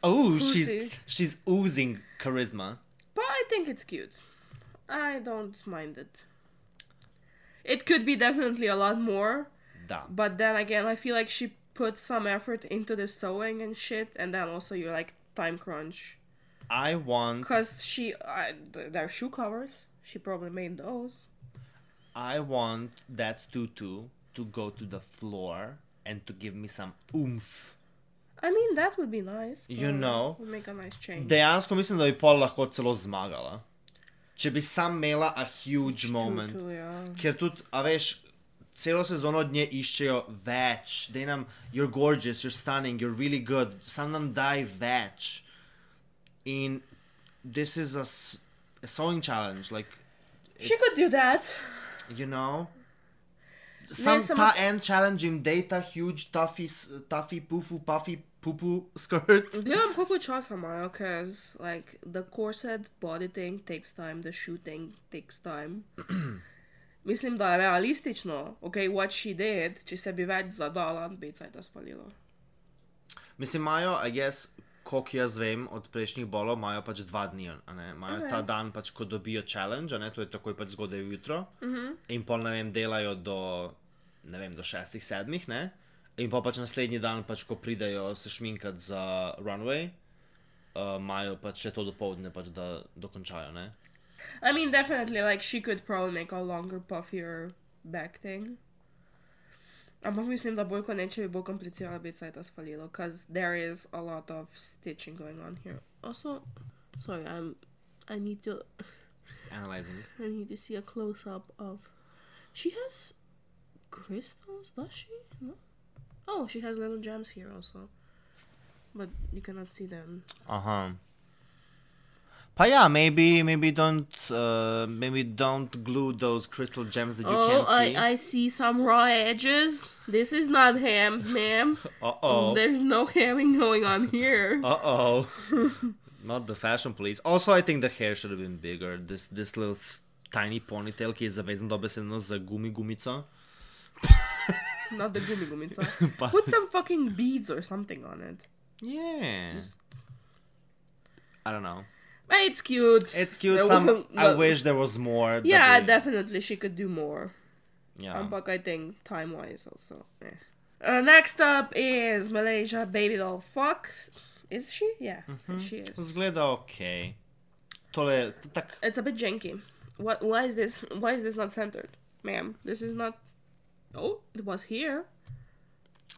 S2: Oh,
S1: pussy.
S2: she's she's oozing charisma.
S1: but I think it's cute. I don't mind it. It could be definitely a lot more,
S2: Da.
S1: but then again, I feel like she put some effort into the sewing and shit, and then also you're like time crunch.
S2: I want
S1: Because she, I, th- they're shoe covers. She probably made those.
S2: I want that tutu to go to the floor and to give me some oomph.
S1: I mean, that would be nice.
S2: You
S1: probably.
S2: know,
S1: Would make a nice change.
S2: Dejansko mislim, da bi pol lahko celo zmagala. Če bi sam imela a huge moment.
S1: Tutu, yeah.
S2: Ker tudi, a veš, celo sezono od nje iščejo več. Dej nam, you're gorgeous, you're stunning, you're really good, sam nam daj več. In this is a, s- a sewing challenge, like,
S1: She
S2: it's-
S1: could do that.
S2: you know. Sam
S1: samo-
S2: ta en challenge jim dej ta huge, tuffy, s- tuffy, pufu, puffy, pupu skirt.
S1: Gledam koliko časa imajo, because like the corset body thing takes time, the shoe thing takes time. Mislim, da je realistično, okay, what she did, če se bi več zadala, bi se to spalilo.
S2: Mislim, imajo, I guess, koliko jaz vem od prejšnjih bolov, imajo pač dva dni, a ne? Imajo
S1: Ok.
S2: ta dan pač, ko dobijo challenge, a ne? To je takoj pač zgodaj jutro. In pol, ne vem, delajo do, ne vem, do šestih, sedmih, ne? In pa pač naslednji dan, pač, ko pridejo se šminkati za runway, uh, imajo pač še to dopoledne, pač, da dokončajo, ne?
S1: I mean, definitely, like she could probably make a longer, puffier back thing. Ampak mislim, da bolj kot neče bi bolj komplicirano biti, saj to spalilo, because there is a lot of stitching going on here. Also, sorry, I'm, I need to,
S2: Analyzing.
S1: I need to see a close up of. She has crystals, does she? No. Oh, she has little gems here also, but you cannot see them.
S2: Aha. Pa ja, maybe, maybe don't, uh, maybe don't glue those crystal gems that you
S1: Oh,
S2: can't see.
S1: I, I see some raw edges. This is not ham, ma'am.
S2: Uh oh.
S1: There's no hamming going on here.
S2: Uh oh. Not the fashion police. Also, I think the hair should have been bigger. This this little s- tiny ponytail, ki je zavezan dobesedno za uh, gumi gumico.
S1: Not the gummy gumica.
S2: Pa-
S1: Put some fucking beads or something on it.
S2: Yeah. I don't know.
S1: But it's cute.
S2: It's cute.
S1: There
S2: Some.
S1: wasn't-
S2: I
S1: no.
S2: wish there was more. that
S1: yeah,
S2: we-
S1: definitely she could do more.
S2: Yeah.
S1: Um, but I think time wise also. eh. Uh, next up is Malaysia Baby Doll Fox. Is she? Yeah,
S2: Mm-hmm.
S1: she is.
S2: Zgleda ok. Tole, t- tak,
S1: It's a bit janky. What? Why is this? Why is this not centered, ma'am? This is not. Oh, it was here.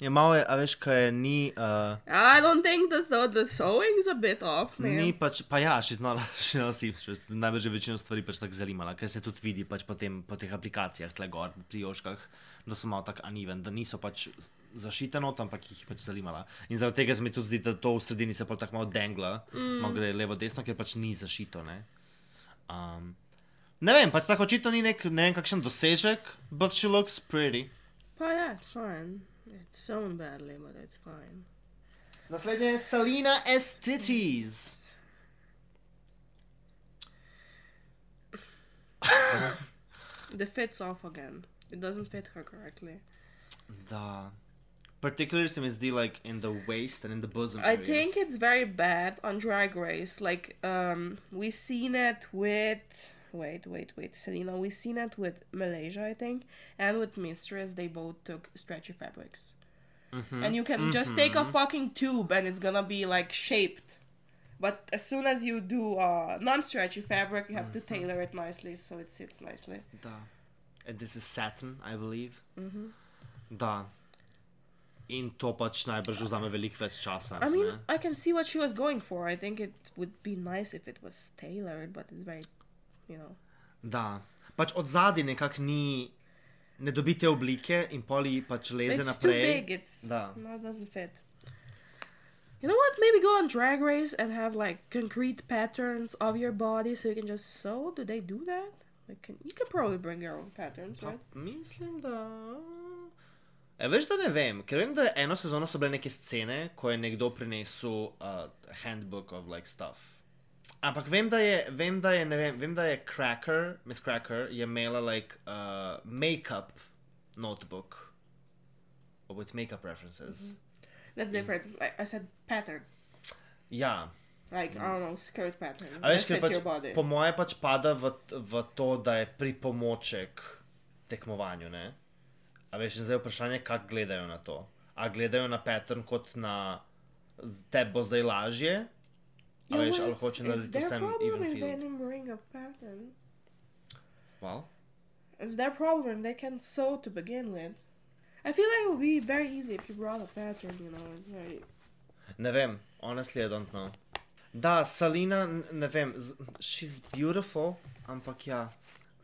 S2: je malo, je, a veš, kaj je, ni, uh,
S1: I don't think the the, the sewing's a bit off, ma'am.
S2: ni pač, pa ja, še znala, še na Sipšus, najbrž je večino stvari pač tako zanimala, ker se tudi vidi pač po, tem, po teh aplikacijah, tle gor, pri joškah, da so malo tako aniven, da niso pač zašite not, ampak jih je pač zanimala. In zaradi tega se mi tudi zdi, da to v sredini se pa tako malo dengla, mm. malo gre levo, desno, ker pač ni zašito, ne. Um, ne vem, pač tako očitno ni nek, ne vem kakšen dosežek, but she looks pretty.
S1: But Oh, yeah, it's fine. It's sewn badly, but it's fine.
S2: Naslednja je Salina Estities.
S1: The fit's off again. It doesn't fit her correctly.
S2: Da. Particularly se mi zdi like in the waist and in the bosom.
S1: I
S2: area.
S1: think it's very bad on Drag Race. Like, um, we seen it with wait, wait, wait, Selena. We seen it with Malaysia, I think, and with Mistress. They both took stretchy fabrics, and you can just take a fucking tube, and it's gonna be like shaped. But as soon as you do uh, non-stretchy fabric, you have to tailor it nicely so it sits nicely.
S2: Da. And this is satin, I believe.
S1: Mhm.
S2: Da. In to pač najbrž vzame veliko več časa.
S1: I mean,
S2: ne?
S1: I can see what she was going for. I think it would be nice if it was tailored, but it's very, you know.
S2: Da. Pač od zadaj nekako ni. Ne dobite oblike in poli pač leze
S1: It's
S2: naprej.
S1: too big. It's
S2: Da.
S1: no, it doesn't fit. You know what? Maybe go on Drag Race and have like concrete patterns of your body, so you can just sew. Do they do that? Like, can, you can probably bring your own patterns,
S2: Pa,
S1: right?
S2: mislim, da. E, veš, da ne vem, ker vem, da eno sezono so bile neke scene, ko je nekdo prinesel uh, handbook of like stuff. Ampak vem, da je, vem, da je, ne vem, vem, da je Cracker, Miss Cracker, je imela like uh, makeup notebook with makeup references. Mm -hmm.
S1: That's different. Like I said, pattern.
S2: Ja.
S1: Like I don't know, skirt pattern
S2: A
S1: that
S2: veš,
S1: fits
S2: ker pač,
S1: your body.
S2: po moje pač pada v, v to, da je pripomoček tekmovanju. Ne? A veš, in zdaj je vprašanje, kako gledajo na to. A gledajo na pattern kot na "Z- te bo zdaj lažje, a
S1: You
S2: veš,
S1: know
S2: ali
S1: what?
S2: hoče
S1: It's
S2: narediti
S1: their
S2: vsem
S1: problem
S2: even
S1: if they
S2: field.
S1: didn't bring a pattern.
S2: Well,
S1: It's their problem. They can sew to begin with. I feel like it would be very easy if you brought a pattern. You know, it's very
S2: ne vem, honestly, I don't know. Da, Salina, n- ne vem, z- she's beautiful, ampak ja,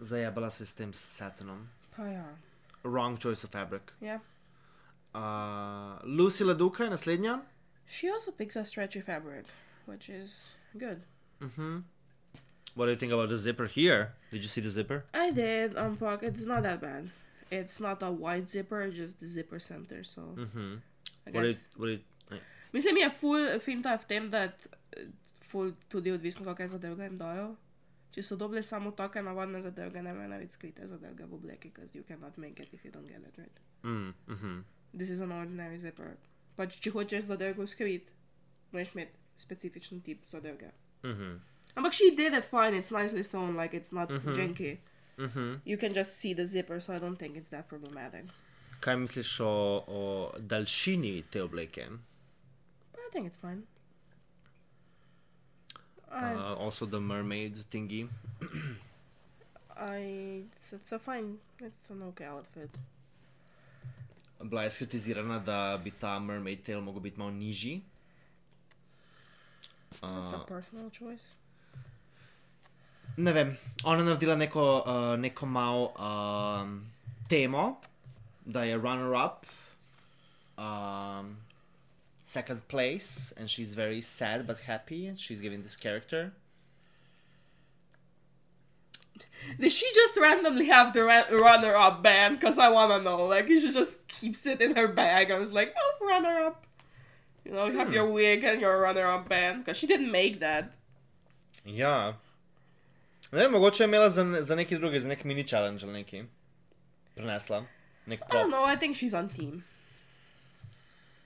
S2: zajabala se je s tem satinom.
S1: oh, yeah,
S2: Wrong choice of fabric.
S1: yeah.
S2: Uh, Lucy Laduka je naslednja.
S1: She also picks a stretchy fabric, which is good. Mm-hmm.
S2: What do you think about the zipper here? Did you see the zipper?
S1: I did unpack. It's not that bad. It's not a wide zipper, it's just the zipper center. So
S2: Mhm.
S1: Mm-hmm. I
S2: What did,
S1: guess.
S2: what did,
S1: Mislim je ful finta v tem, da eh, ful tudi odvisno, kakšne zadeve jim dajo. Če so dobili samo take navadne zadeve, ne vem, več skrite zadeve v obleki, because you cannot make it if you don't get it right.
S2: mm, mhm.
S1: This is an ordinary zipper. Pač če hočeš zadeve skriti, moraš imeti specifičen tip zadeve.
S2: Mhm.
S1: Ampak she did it fine. It's nicely sewn, like it's not
S2: Mm-hmm.
S1: janky.
S2: Mhm.
S1: You can just see the zipper, so I don't think it's that problematic.
S2: Kaj misliš o, o daljšini te obleke?
S1: But I think it's fine. I,
S2: Uh, also the mermaid thingy.
S1: I, it's, it's a fine, it's an okay outfit.
S2: Bila je skritizirana, da bi ta mermaid tail mogel biti malo nižji.
S1: It's a
S2: Uh,
S1: personal choice.
S2: ne vem, ona je naredila neko, uh, neko malo um, temo, da je runner-up, um, second place, and she's very sad but happy, and she's giving this character.
S1: Did she just randomly have the ra- runner up band? Because I want to know. Like, she just keeps it in her bag. I was like, oh, runner up. You know, you have your wig and your runner up band. Because she didn't make that.
S2: Ja. Ne vem, mogoče je imela za, ne- za neki drugi, za nek mini challenge ali neki. Prinesla. Nek
S1: I
S2: prop.
S1: don't know. I think she's on team.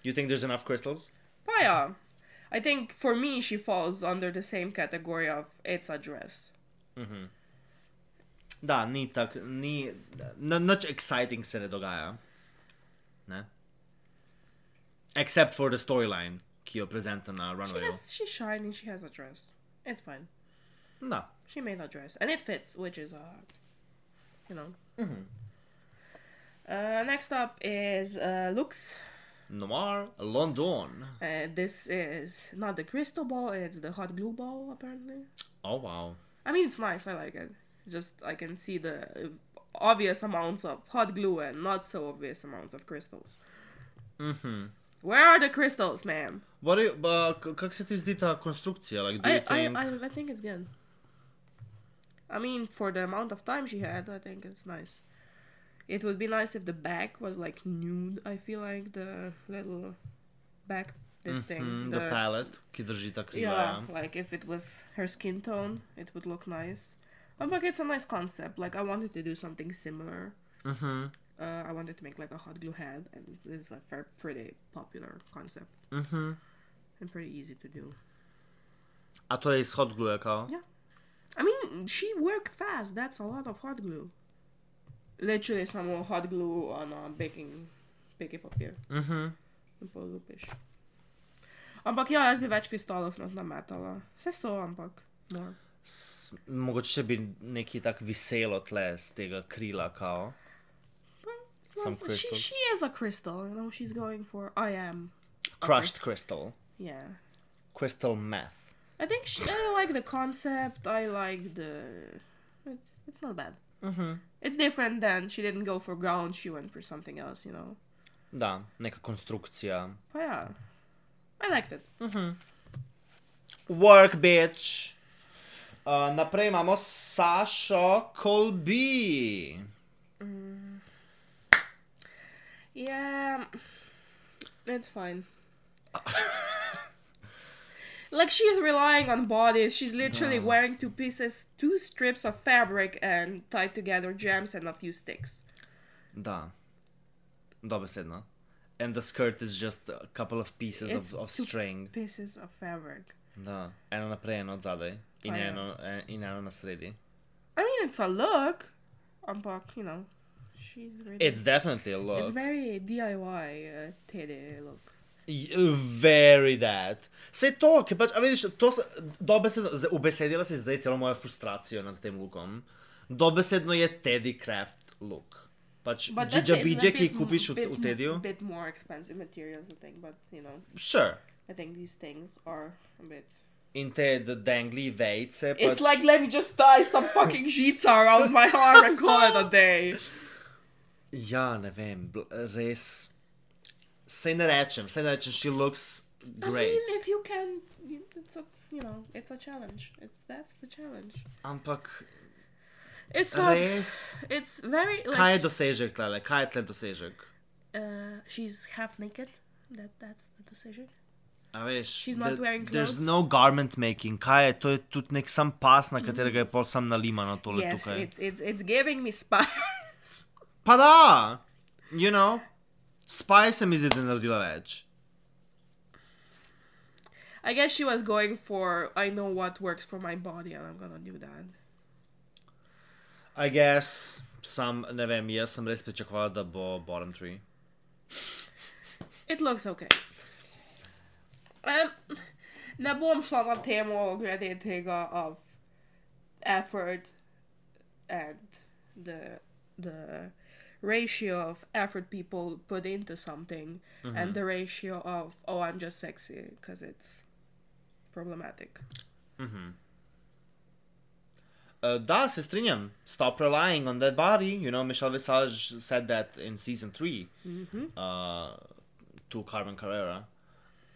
S2: You think there's enough crystals?
S1: Pa ja. I think for me, she falls under the same category of it's a dress.
S2: Da, ni tako, ni, no, nič exciting se ne dogaja. Ne? Except for the storyline, ki jo prezenta na
S1: She
S2: runwayu.
S1: has, she's shining. She has a dress. It's fine.
S2: Da.
S1: She made a dress, and it fits, which is uh, you know. Uh, next up is uh, looks.
S2: Noir, London.
S1: Uh, this is not the crystal ball; it's the hot glue ball, apparently.
S2: Oh wow.
S1: I mean, it's nice. I like it. Just I can see the uh, obvious amounts of hot glue and not so obvious amounts of crystals.
S2: Mhm.
S1: Where are the crystals, ma'am?
S2: What do you, uh, k- kako se ti zdi ta konstrukcija? Like, do you
S1: I, I,
S2: think...
S1: I, I think it's good. I mean, for the amount of time she had, I think it's nice. It would be nice if the back was like nude. I feel like the little back, this thing.
S2: Mm, the palette, ki drži ta krila.
S1: yeah,
S2: Ja.
S1: like if it was her skin tone, it would look nice. I'm like, it's a nice concept. Like, I wanted to do something similar.
S2: Mhm.
S1: Uh, I wanted to make like a hot glue head, and it's a very pretty popular concept
S2: Mhm.
S1: and pretty easy to do.
S2: A to je iz hot glue, kao?
S1: Yeah. I mean, she worked fast. That's a lot of hot glue. Literally, some more hot glue on a baking, baking papier.
S2: Mhm.
S1: In polupiš. Ampak ja, jaz bi več kristalov not nametala. Vse so, ampak. More.
S2: S- Mogoče še bi nekaj tako viselo tle z tega krila, kao. Some
S1: she,
S2: crystals.
S1: she is a crystal, you know, she's going for I am.
S2: Crushed crystal.
S1: Yeah.
S2: Crystal meth.
S1: I think she, I like the concept, I like the. It's, it's not bad.
S2: Mhm.
S1: It's different than she didn't go for ground, she went for something else, you know.
S2: Da, neka konstrukcija.
S1: Pa ja. I liked it.
S2: Work, bitch! Uh, naprej imamo Sašo Kolbi.
S1: Yeah, it's fine. like she's relying on bodies. She's literally wearing two pieces, two strips of fabric, and tied together gems and a few sticks.
S2: Da, dobesedno. And the skirt is just a couple of pieces
S1: It's
S2: of, of
S1: too-
S2: string.
S1: Pieces of fabric.
S2: Da, eno naprej, eno od zadaj. In
S1: Pa ja.
S2: eno, en- in eno na sredi.
S1: I mean, it's a look. I'm back, you know. She's really.
S2: It's definitely a look.
S1: it's very DIY uh, Teddy look.
S2: J- Very that. Sej to, ki pač, a vidiš, to se, dobesedno, zdaj, ubesedila si zdaj celo mojo frustracijo nad tem lookom. Dobesedno je Teddy Craft look. Pač
S1: But that's
S2: Gigi
S1: it,
S2: Bidje,
S1: a
S2: ki
S1: bit
S2: jih
S1: m-
S2: kupiš v,
S1: bit
S2: v
S1: m-
S2: Teddyju.
S1: bit more expensive materials, I think. But you know,
S2: Sure.
S1: I think these things are a bit.
S2: In te d- dangly vejce. Pač,
S1: It's like let me just tie some fucking sheets around my arm and call it a day.
S2: Ja, ne vem, bl- res. Sej ne rečem, sej ne rečem, she looks
S1: I
S2: great.
S1: mean, if you can, it's a you know, it's a challenge. It's that's the challenge.
S2: Ampak
S1: It's not.
S2: res,
S1: It's very
S2: kaj je
S1: like.
S2: dosežek, tlele, kaj je tle dosežek?
S1: Uh, she's half naked. That that's the decision.
S2: A veš,
S1: She's not wearing
S2: There's
S1: clothes?
S2: no garment making, kaj je, to je tudi nek sam pas, na katerega je pol sam nalimano tole
S1: yes,
S2: tukaj.
S1: it's it's it's giving me spice.
S2: Pa da, you know, spaj se mi zdi, da je naredila več.
S1: I guess she was going for I know what works for my body and I'm gonna do that.
S2: I guess, sam ne vem, jaz sem res pričakovala, da bo bottom three.
S1: It looks okay. Um, ne bom šla na temo glede tega of effort and the the ratio of effort people put into something and the ratio of oh I'm just sexy because it's problematic.
S2: Uh, da, se strinjam. Stop relying on that body. You know, Michelle Visage said that in season 3
S1: Mm-hmm.
S2: uh, to Carmen Carrera.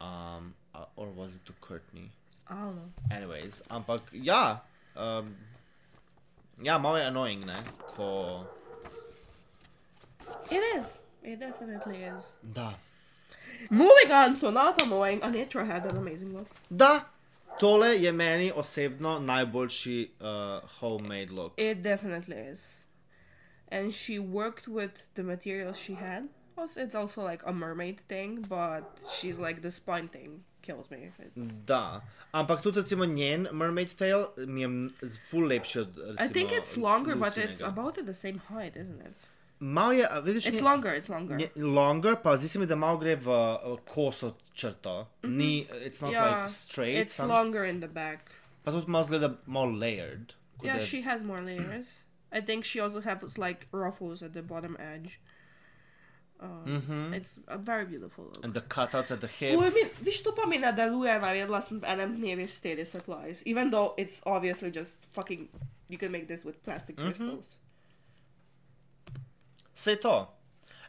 S2: Um, uh, or was it to Courtney?
S1: I don't know.
S2: Anyways, ampak ja, um, Ja, malo je annoying, ne? Ko...
S1: It is. It definitely is.
S2: Da.
S1: Moving on to not annoying, Anitra had an amazing look.
S2: Da, tole je meni osebno najboljši uh, homemade look.
S1: It definitely is. And she worked with the materials she had. Also, it's also like a mermaid thing, but she's like the spine thing kills me.
S2: Mm.
S1: It's,
S2: Da, ampak tudi recimo njen mermaid tail mi je m- z- ful lepši od recimo,
S1: I think it's longer, but it's
S2: Lucinega.
S1: about at the same height, isn't it?
S2: Malo je, a vidiš,
S1: It's
S2: nje-
S1: longer. It's longer.
S2: nje- longer, pa zdi se mi, da malo gre v uh, koso črto. Ni, it's not
S1: Yeah,
S2: like straight.
S1: Mhm. Ja, It's longer in the back.
S2: Pa tudi malo zgleda malo layered. kot
S1: Yeah,
S2: da je-
S1: Ja, she has more layers. I think she also has like ruffles at the bottom edge. Um,
S2: Mm-hmm.
S1: It's a very beautiful look.
S2: And the cutouts at the hips.
S1: Well, I mean, viš to pa mi ne deluje, navedla sem v enem dnevu 40 lies. Even though it's obviously just fucking, you can make this with plastic crystals.
S2: Vse to.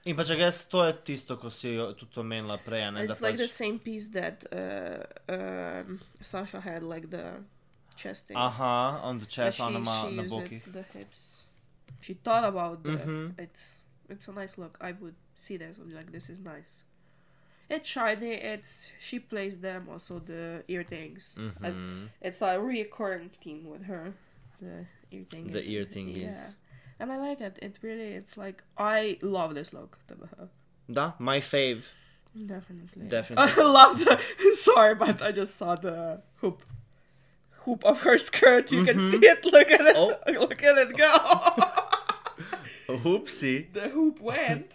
S2: In pa če greš, to je tisto, ko si jo tudi omenila prej. a Ne,
S1: It's
S2: da
S1: like the
S2: pač...
S1: same piece that uh, um, Sasha had, like the chest
S2: Uh-huh.
S1: thing.
S2: Aha, on the
S1: But
S2: chest, ona ima na
S1: used
S2: bokih.
S1: it, the hips. She thought about the,
S2: Mhm.
S1: it's it's a nice look. I would see this and be like, this is nice. It's shiny. It's she plays them also the ear things. I-
S2: Mhm.
S1: it's like a recurring theme with her. The ear thing.
S2: The
S1: is-
S2: ear thing
S1: yeah.
S2: is-
S1: And I like it. It really. It's like I love this look. Tabaha.
S2: Da, my fave.
S1: Definitely.
S2: Definitely.
S1: I love the. Sorry, but I just saw the hoop. Hoop of her skirt. You can see it. Look at it.
S2: Mm-hmm. Oh.
S1: Look at it go.
S2: Hupsi.
S1: the hoop went.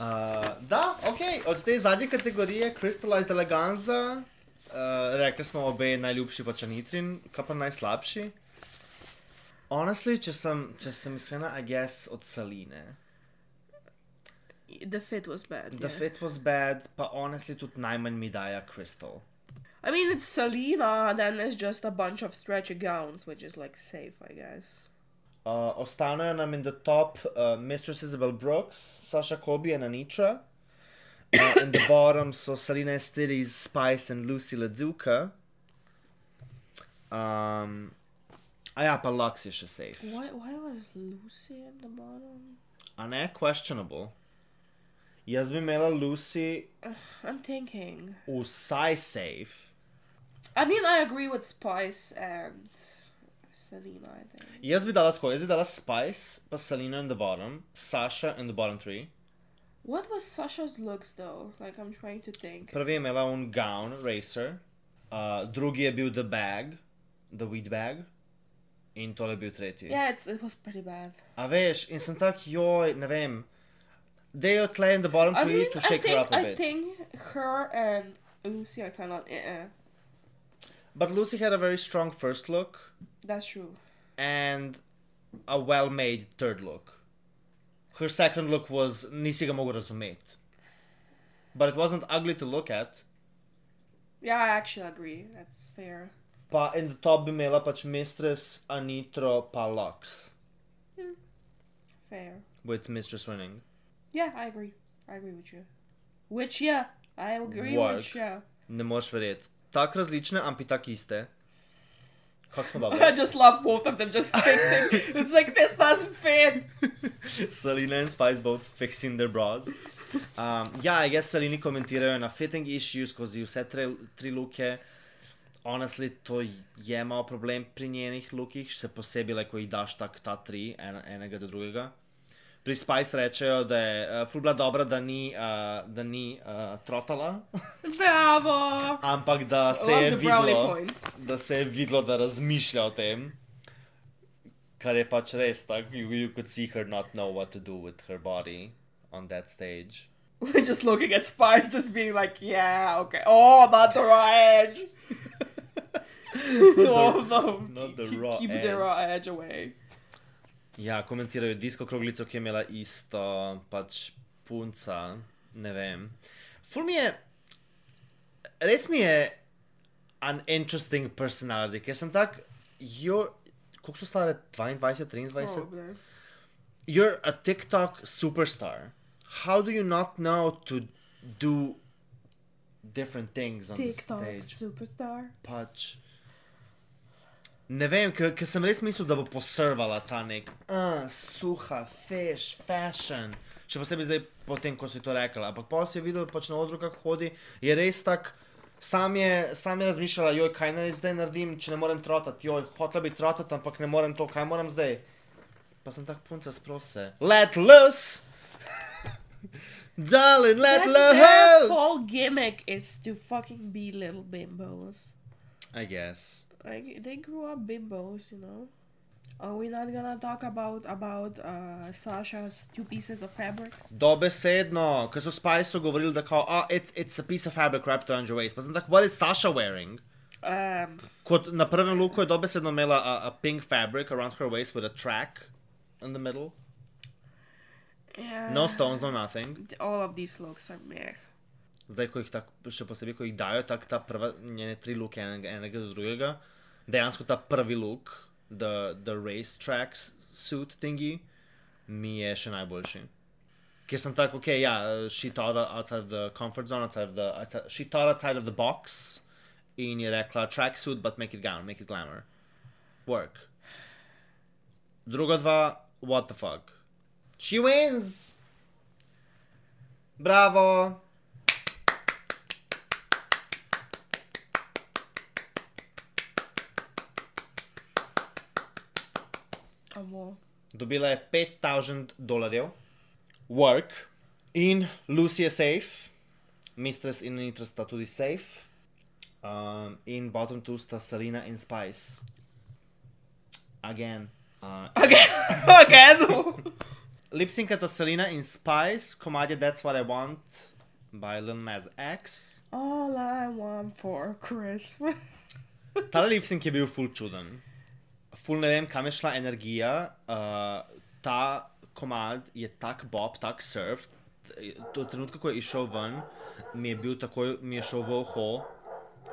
S2: Uh, da, ok, od te zadnje kategorije, Crystallized Eleganza, uh, rekli smo obe najljubši, pač Anitrin, kaj pa najslabši. Honestly, če sem, če sem iskrena, I guess od Saline.
S1: The fit was bad.
S2: The
S1: yeah.
S2: fit was bad, pa honestly tudi najmanj mi daja Crystal.
S1: I mean, it's Selena, then it's just a bunch of stretchy gowns, which is like safe, I guess.
S2: Uh, ostanejo nam in the top uh, Mistress Isabel Brooks, Sasha Kobe and Anitra. Uh, in the bottom so Selena Estiris, Spice and Lucy LaDuca. Um, a ja, pa Lux je še safe.
S1: Why? Why was Lucy at the bottom?
S2: A ne, questionable. Jaz bi imela Lucy
S1: I'm thinking.
S2: vsaj safe.
S1: I mean, I agree with Spice and Selena. I think.
S2: Jaz bi dala tako, jaz bi dala Spice, pa Selena in the bottom, Sasha in the bottom three.
S1: What was Sasha's looks though? Like I'm trying to think.
S2: Prvi je imela un gown, racer, uh, drugi je bil the bag, the weed bag, in tole je bil tretji.
S1: Yeah, it's, it was pretty bad.
S2: A veš, in sem tak, joj, ne vem, dejo tle in the bottom
S1: I
S2: tree
S1: mean,
S2: to
S1: I
S2: shake her
S1: think
S2: up a
S1: I
S2: bit.
S1: think her and Lucy are kind of uh,
S2: But Lucy had a very strong first look
S1: that's true.
S2: and a well made third look. Her second look was nisi ga mogel razumeti. But it wasn't ugly to look at.
S1: Yeah, I actually agree. That's fair.
S2: Pa in the top bi imela pač Mistress, Anitro, pa Lux,
S1: Fair.
S2: with Mistress winning.
S1: Yeah, I agree. I agree with you. Which yeah, I agree
S2: Work.
S1: with yeah.
S2: Ne moreš verjeti. Tako različne, ampak tako iste. Kako smo dobro?
S1: I just love both of them just fixing. it's like this doesn't fit.
S2: Selena in Spice both fixing their bras. Um, ja, jaz Seleni komentirajo na fitting issue skozi vse tre, tri luke. Honestly, to je malo problem pri njenih lukih, še posebej, like, ko jih daš tak ta tri, en, enega do drugega. Pri Spice rečejo, da je uh, ful bila dobra, da ni, uh, da ni uh, trotala,
S1: Bravo.
S2: ampak da se
S1: Love
S2: je
S1: the brownie
S2: videlo.
S1: points.
S2: da se je videlo, da razmišlja o tem, kar je pač res. Tako, you, you could see her not know what to do with her body on that stage.
S1: We're just looking at spies, just being like, yeah, okay. Oh, not the raw edge. no, no.
S2: not the
S1: keep,
S2: raw
S1: keep
S2: edge.
S1: the raw edge away.
S2: Ja, komentirajo disko kroglico, ki je imela isto, pač punca, ne vem. Ful mi je, res mi je an interesting personality, ker sem tak, jo, koliko so stare, 22, 23?
S1: Probably.
S2: you're a TikTok superstar. How do you not know to do different things on the
S1: TikTok
S2: stage?
S1: superstar.
S2: Pač. Ne vem, ker ker sem res mislil, da bo posrvala ta nek uh, suha, feš, fashion. Še posebej zdaj, potem, ko si to rekla. Ampak pa si videl, pač na odru, kako hodi, je res tak. Sam je, sam je razmišljala, joj, kaj naj zdaj naredim, če ne morem trotati, joj, hotela bi trotati, ampak ne morem to, kaj moram zdaj. Pa sem tak punca sprose. Let loose! Darling, let
S1: That's their
S2: loose!
S1: whole gimmick is to fucking be little bimbos.
S2: I guess.
S1: Like they grew up bimbos, you know. Are we not gonna talk about about uh, Sasha's two pieces of fabric?
S2: Dobesedno, ker so Spice govorili, da kao, oh, it's, it's a piece of fabric wrapped around your waist. Pa sem tak, what is Sasha wearing?
S1: Um,
S2: Kot na prvem luku je dobesedno imela a, a pink fabric around her waist with a track in the middle.
S1: yeah.
S2: No stones, no nothing.
S1: All of these looks are meh.
S2: Zdaj, ko jih tako, še posebej, ko jih dajo, tako ta prva, njene tri luke enega, enega do drugega, dejansko ta prvi luk, the, the race tracks suit thingy, mi je še najboljši. Ker sem tako, ok, ja, uh, she thought outside the comfort zone, outside of the, outside, she thought outside of the box in je rekla tracksuit, but make it gown, make it glamour. Work. Druga dva, what the fuck. She wins! Bravo!
S1: A wall.
S2: Dobila je 5000 dolarjev, work in Lucy je safe, mistress in Nitra sta tudi safe, um, in bottom two sta Selena in Spice. Again. Uh,
S1: Okay. okay. No.
S2: Lipsinkata Selena in Spice, komadje That's What I Want by Lil Nas X.
S1: All I want for Christmas.
S2: Ta lipsink je bil ful čuden. Ful ne vem, kam je šla energija. Uh, ta komad je tak bob, tak surf. Do trenutka, ko je išel ven, mi je bil takoj, mi je šel v oho,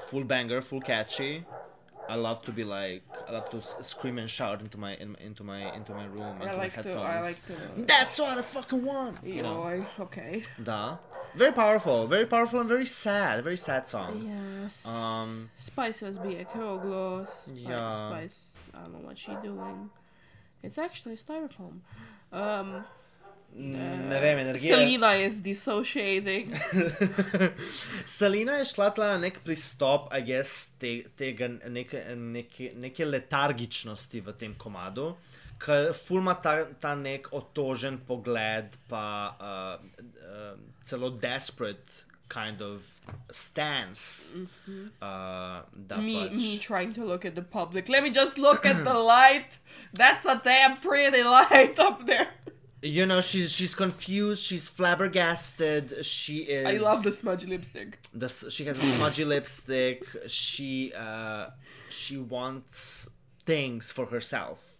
S2: full banger, full catchy. I love to be like, I love to s- scream and shout into my in, into my into my room, into my
S1: I like to.
S2: headphones.
S1: I like to.
S2: That's what I fucking want.
S1: You know. I, okay.
S2: Da. Very powerful, very powerful and very sad, very sad song.
S1: Yes.
S2: Um,
S1: Spice was be a Kyoglo. Spice,
S2: Yeah.
S1: Spice. I don't know what she doing. It's actually styrofoam. Um,
S2: ne vem, energija. je-
S1: Selena is dissociating.
S2: Selina je šla tla na nek pristop, a jaz te, tega neke, neke, neke letargičnosti v tem komadu, ker fulma ta, ta nek otožen pogled, pa uh, uh, celo desperate kind of stance.
S1: Mhm.
S2: Uh, da
S1: me,
S2: pač,
S1: me trying to look at the public. Let me just look at the light. That's a damn pretty light up there.
S2: You know, she's, she's confused, she's flabbergasted, she is...
S1: I love the smudge lipstick.
S2: the, s- she has a smudgy lipstick. She uh, she wants things for herself,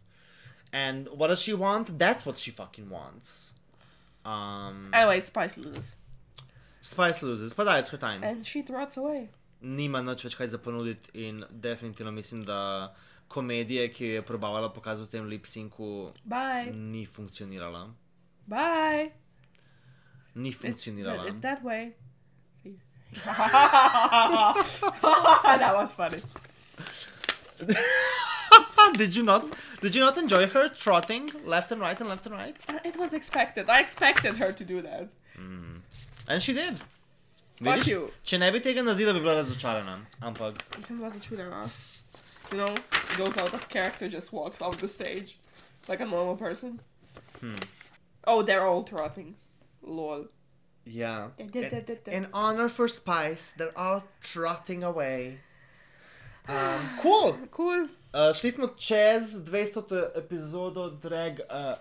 S2: and what does she want? That's what she fucking wants. Um,
S1: Anyway, Spice loses.
S2: Spice loses, pa da, it's her time.
S1: And she trots away.
S2: Nima nič več kaj za ponuditi in definitivno mislim, da komedije, ki jo je probavala pokazati v tem lipsinku,
S1: Bye.
S2: ni funkcionirala.
S1: Bye.
S2: Ni
S1: It's,
S2: funkcionirala.
S1: it's that way. that was funny.
S2: did you not? Did you not enjoy her trotting left and right and left and right?
S1: Uh, It was expected. I expected her to do that.
S2: And she did.
S1: Fuck you.
S2: če ne bi tega naredila, bi bila razočarana. Ampak
S1: It was a true You know, goes out of character, just walks off the stage like a normal person. Oh, they're all trotting. Lol.
S2: ja.
S1: Da, da, da, da, da.
S2: honor for Spice, they're all trotting away. Um, cool.
S1: Cool.
S2: Uh, šli smo čez 200 epizodo drag uh,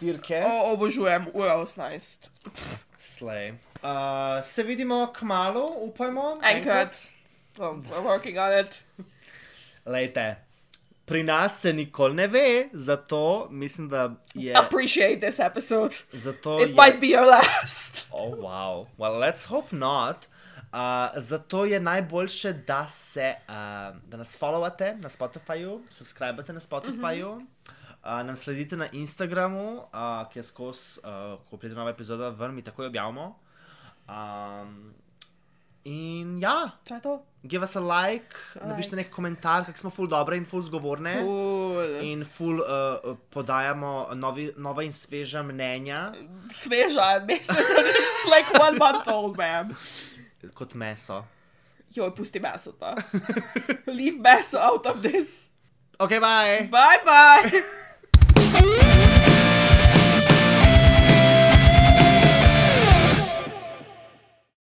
S2: dirke.
S1: O, obožujem uro 18.
S2: Slej. Uh, se vidimo k malu, upajmo.
S1: Enkrat. Oh, we're working on it.
S2: Lejte, pri nas se nikoli ne ve, zato mislim, da je.
S1: Appreciate this episode.
S2: Zato
S1: It
S2: je...
S1: might be your last.
S2: Oh, wow. Well, let's hope not. Uh, zato je najboljše, da, se, uh, da nas followate na Spotifyju, subskrbite na Spotifyju, mm -hmm. uh, nam sledite na Instagramu, uh, ki je skozi, uh, ko pride nova epizoda, ven mi takoj objavimo. Um, In ja,
S1: To je to.
S2: give us a like, like. napišite nek komentar, kako smo ful dobre in ful zgovorne.
S1: Cool.
S2: In ful uh, podajamo novi, nova in sveža mnenja
S1: Sveža, mislim, it's er like one month old, man.
S2: kot meso.
S1: Joj, pusti meso ta. Leave meso out of this.
S2: Ok, bye!
S1: Bye bye.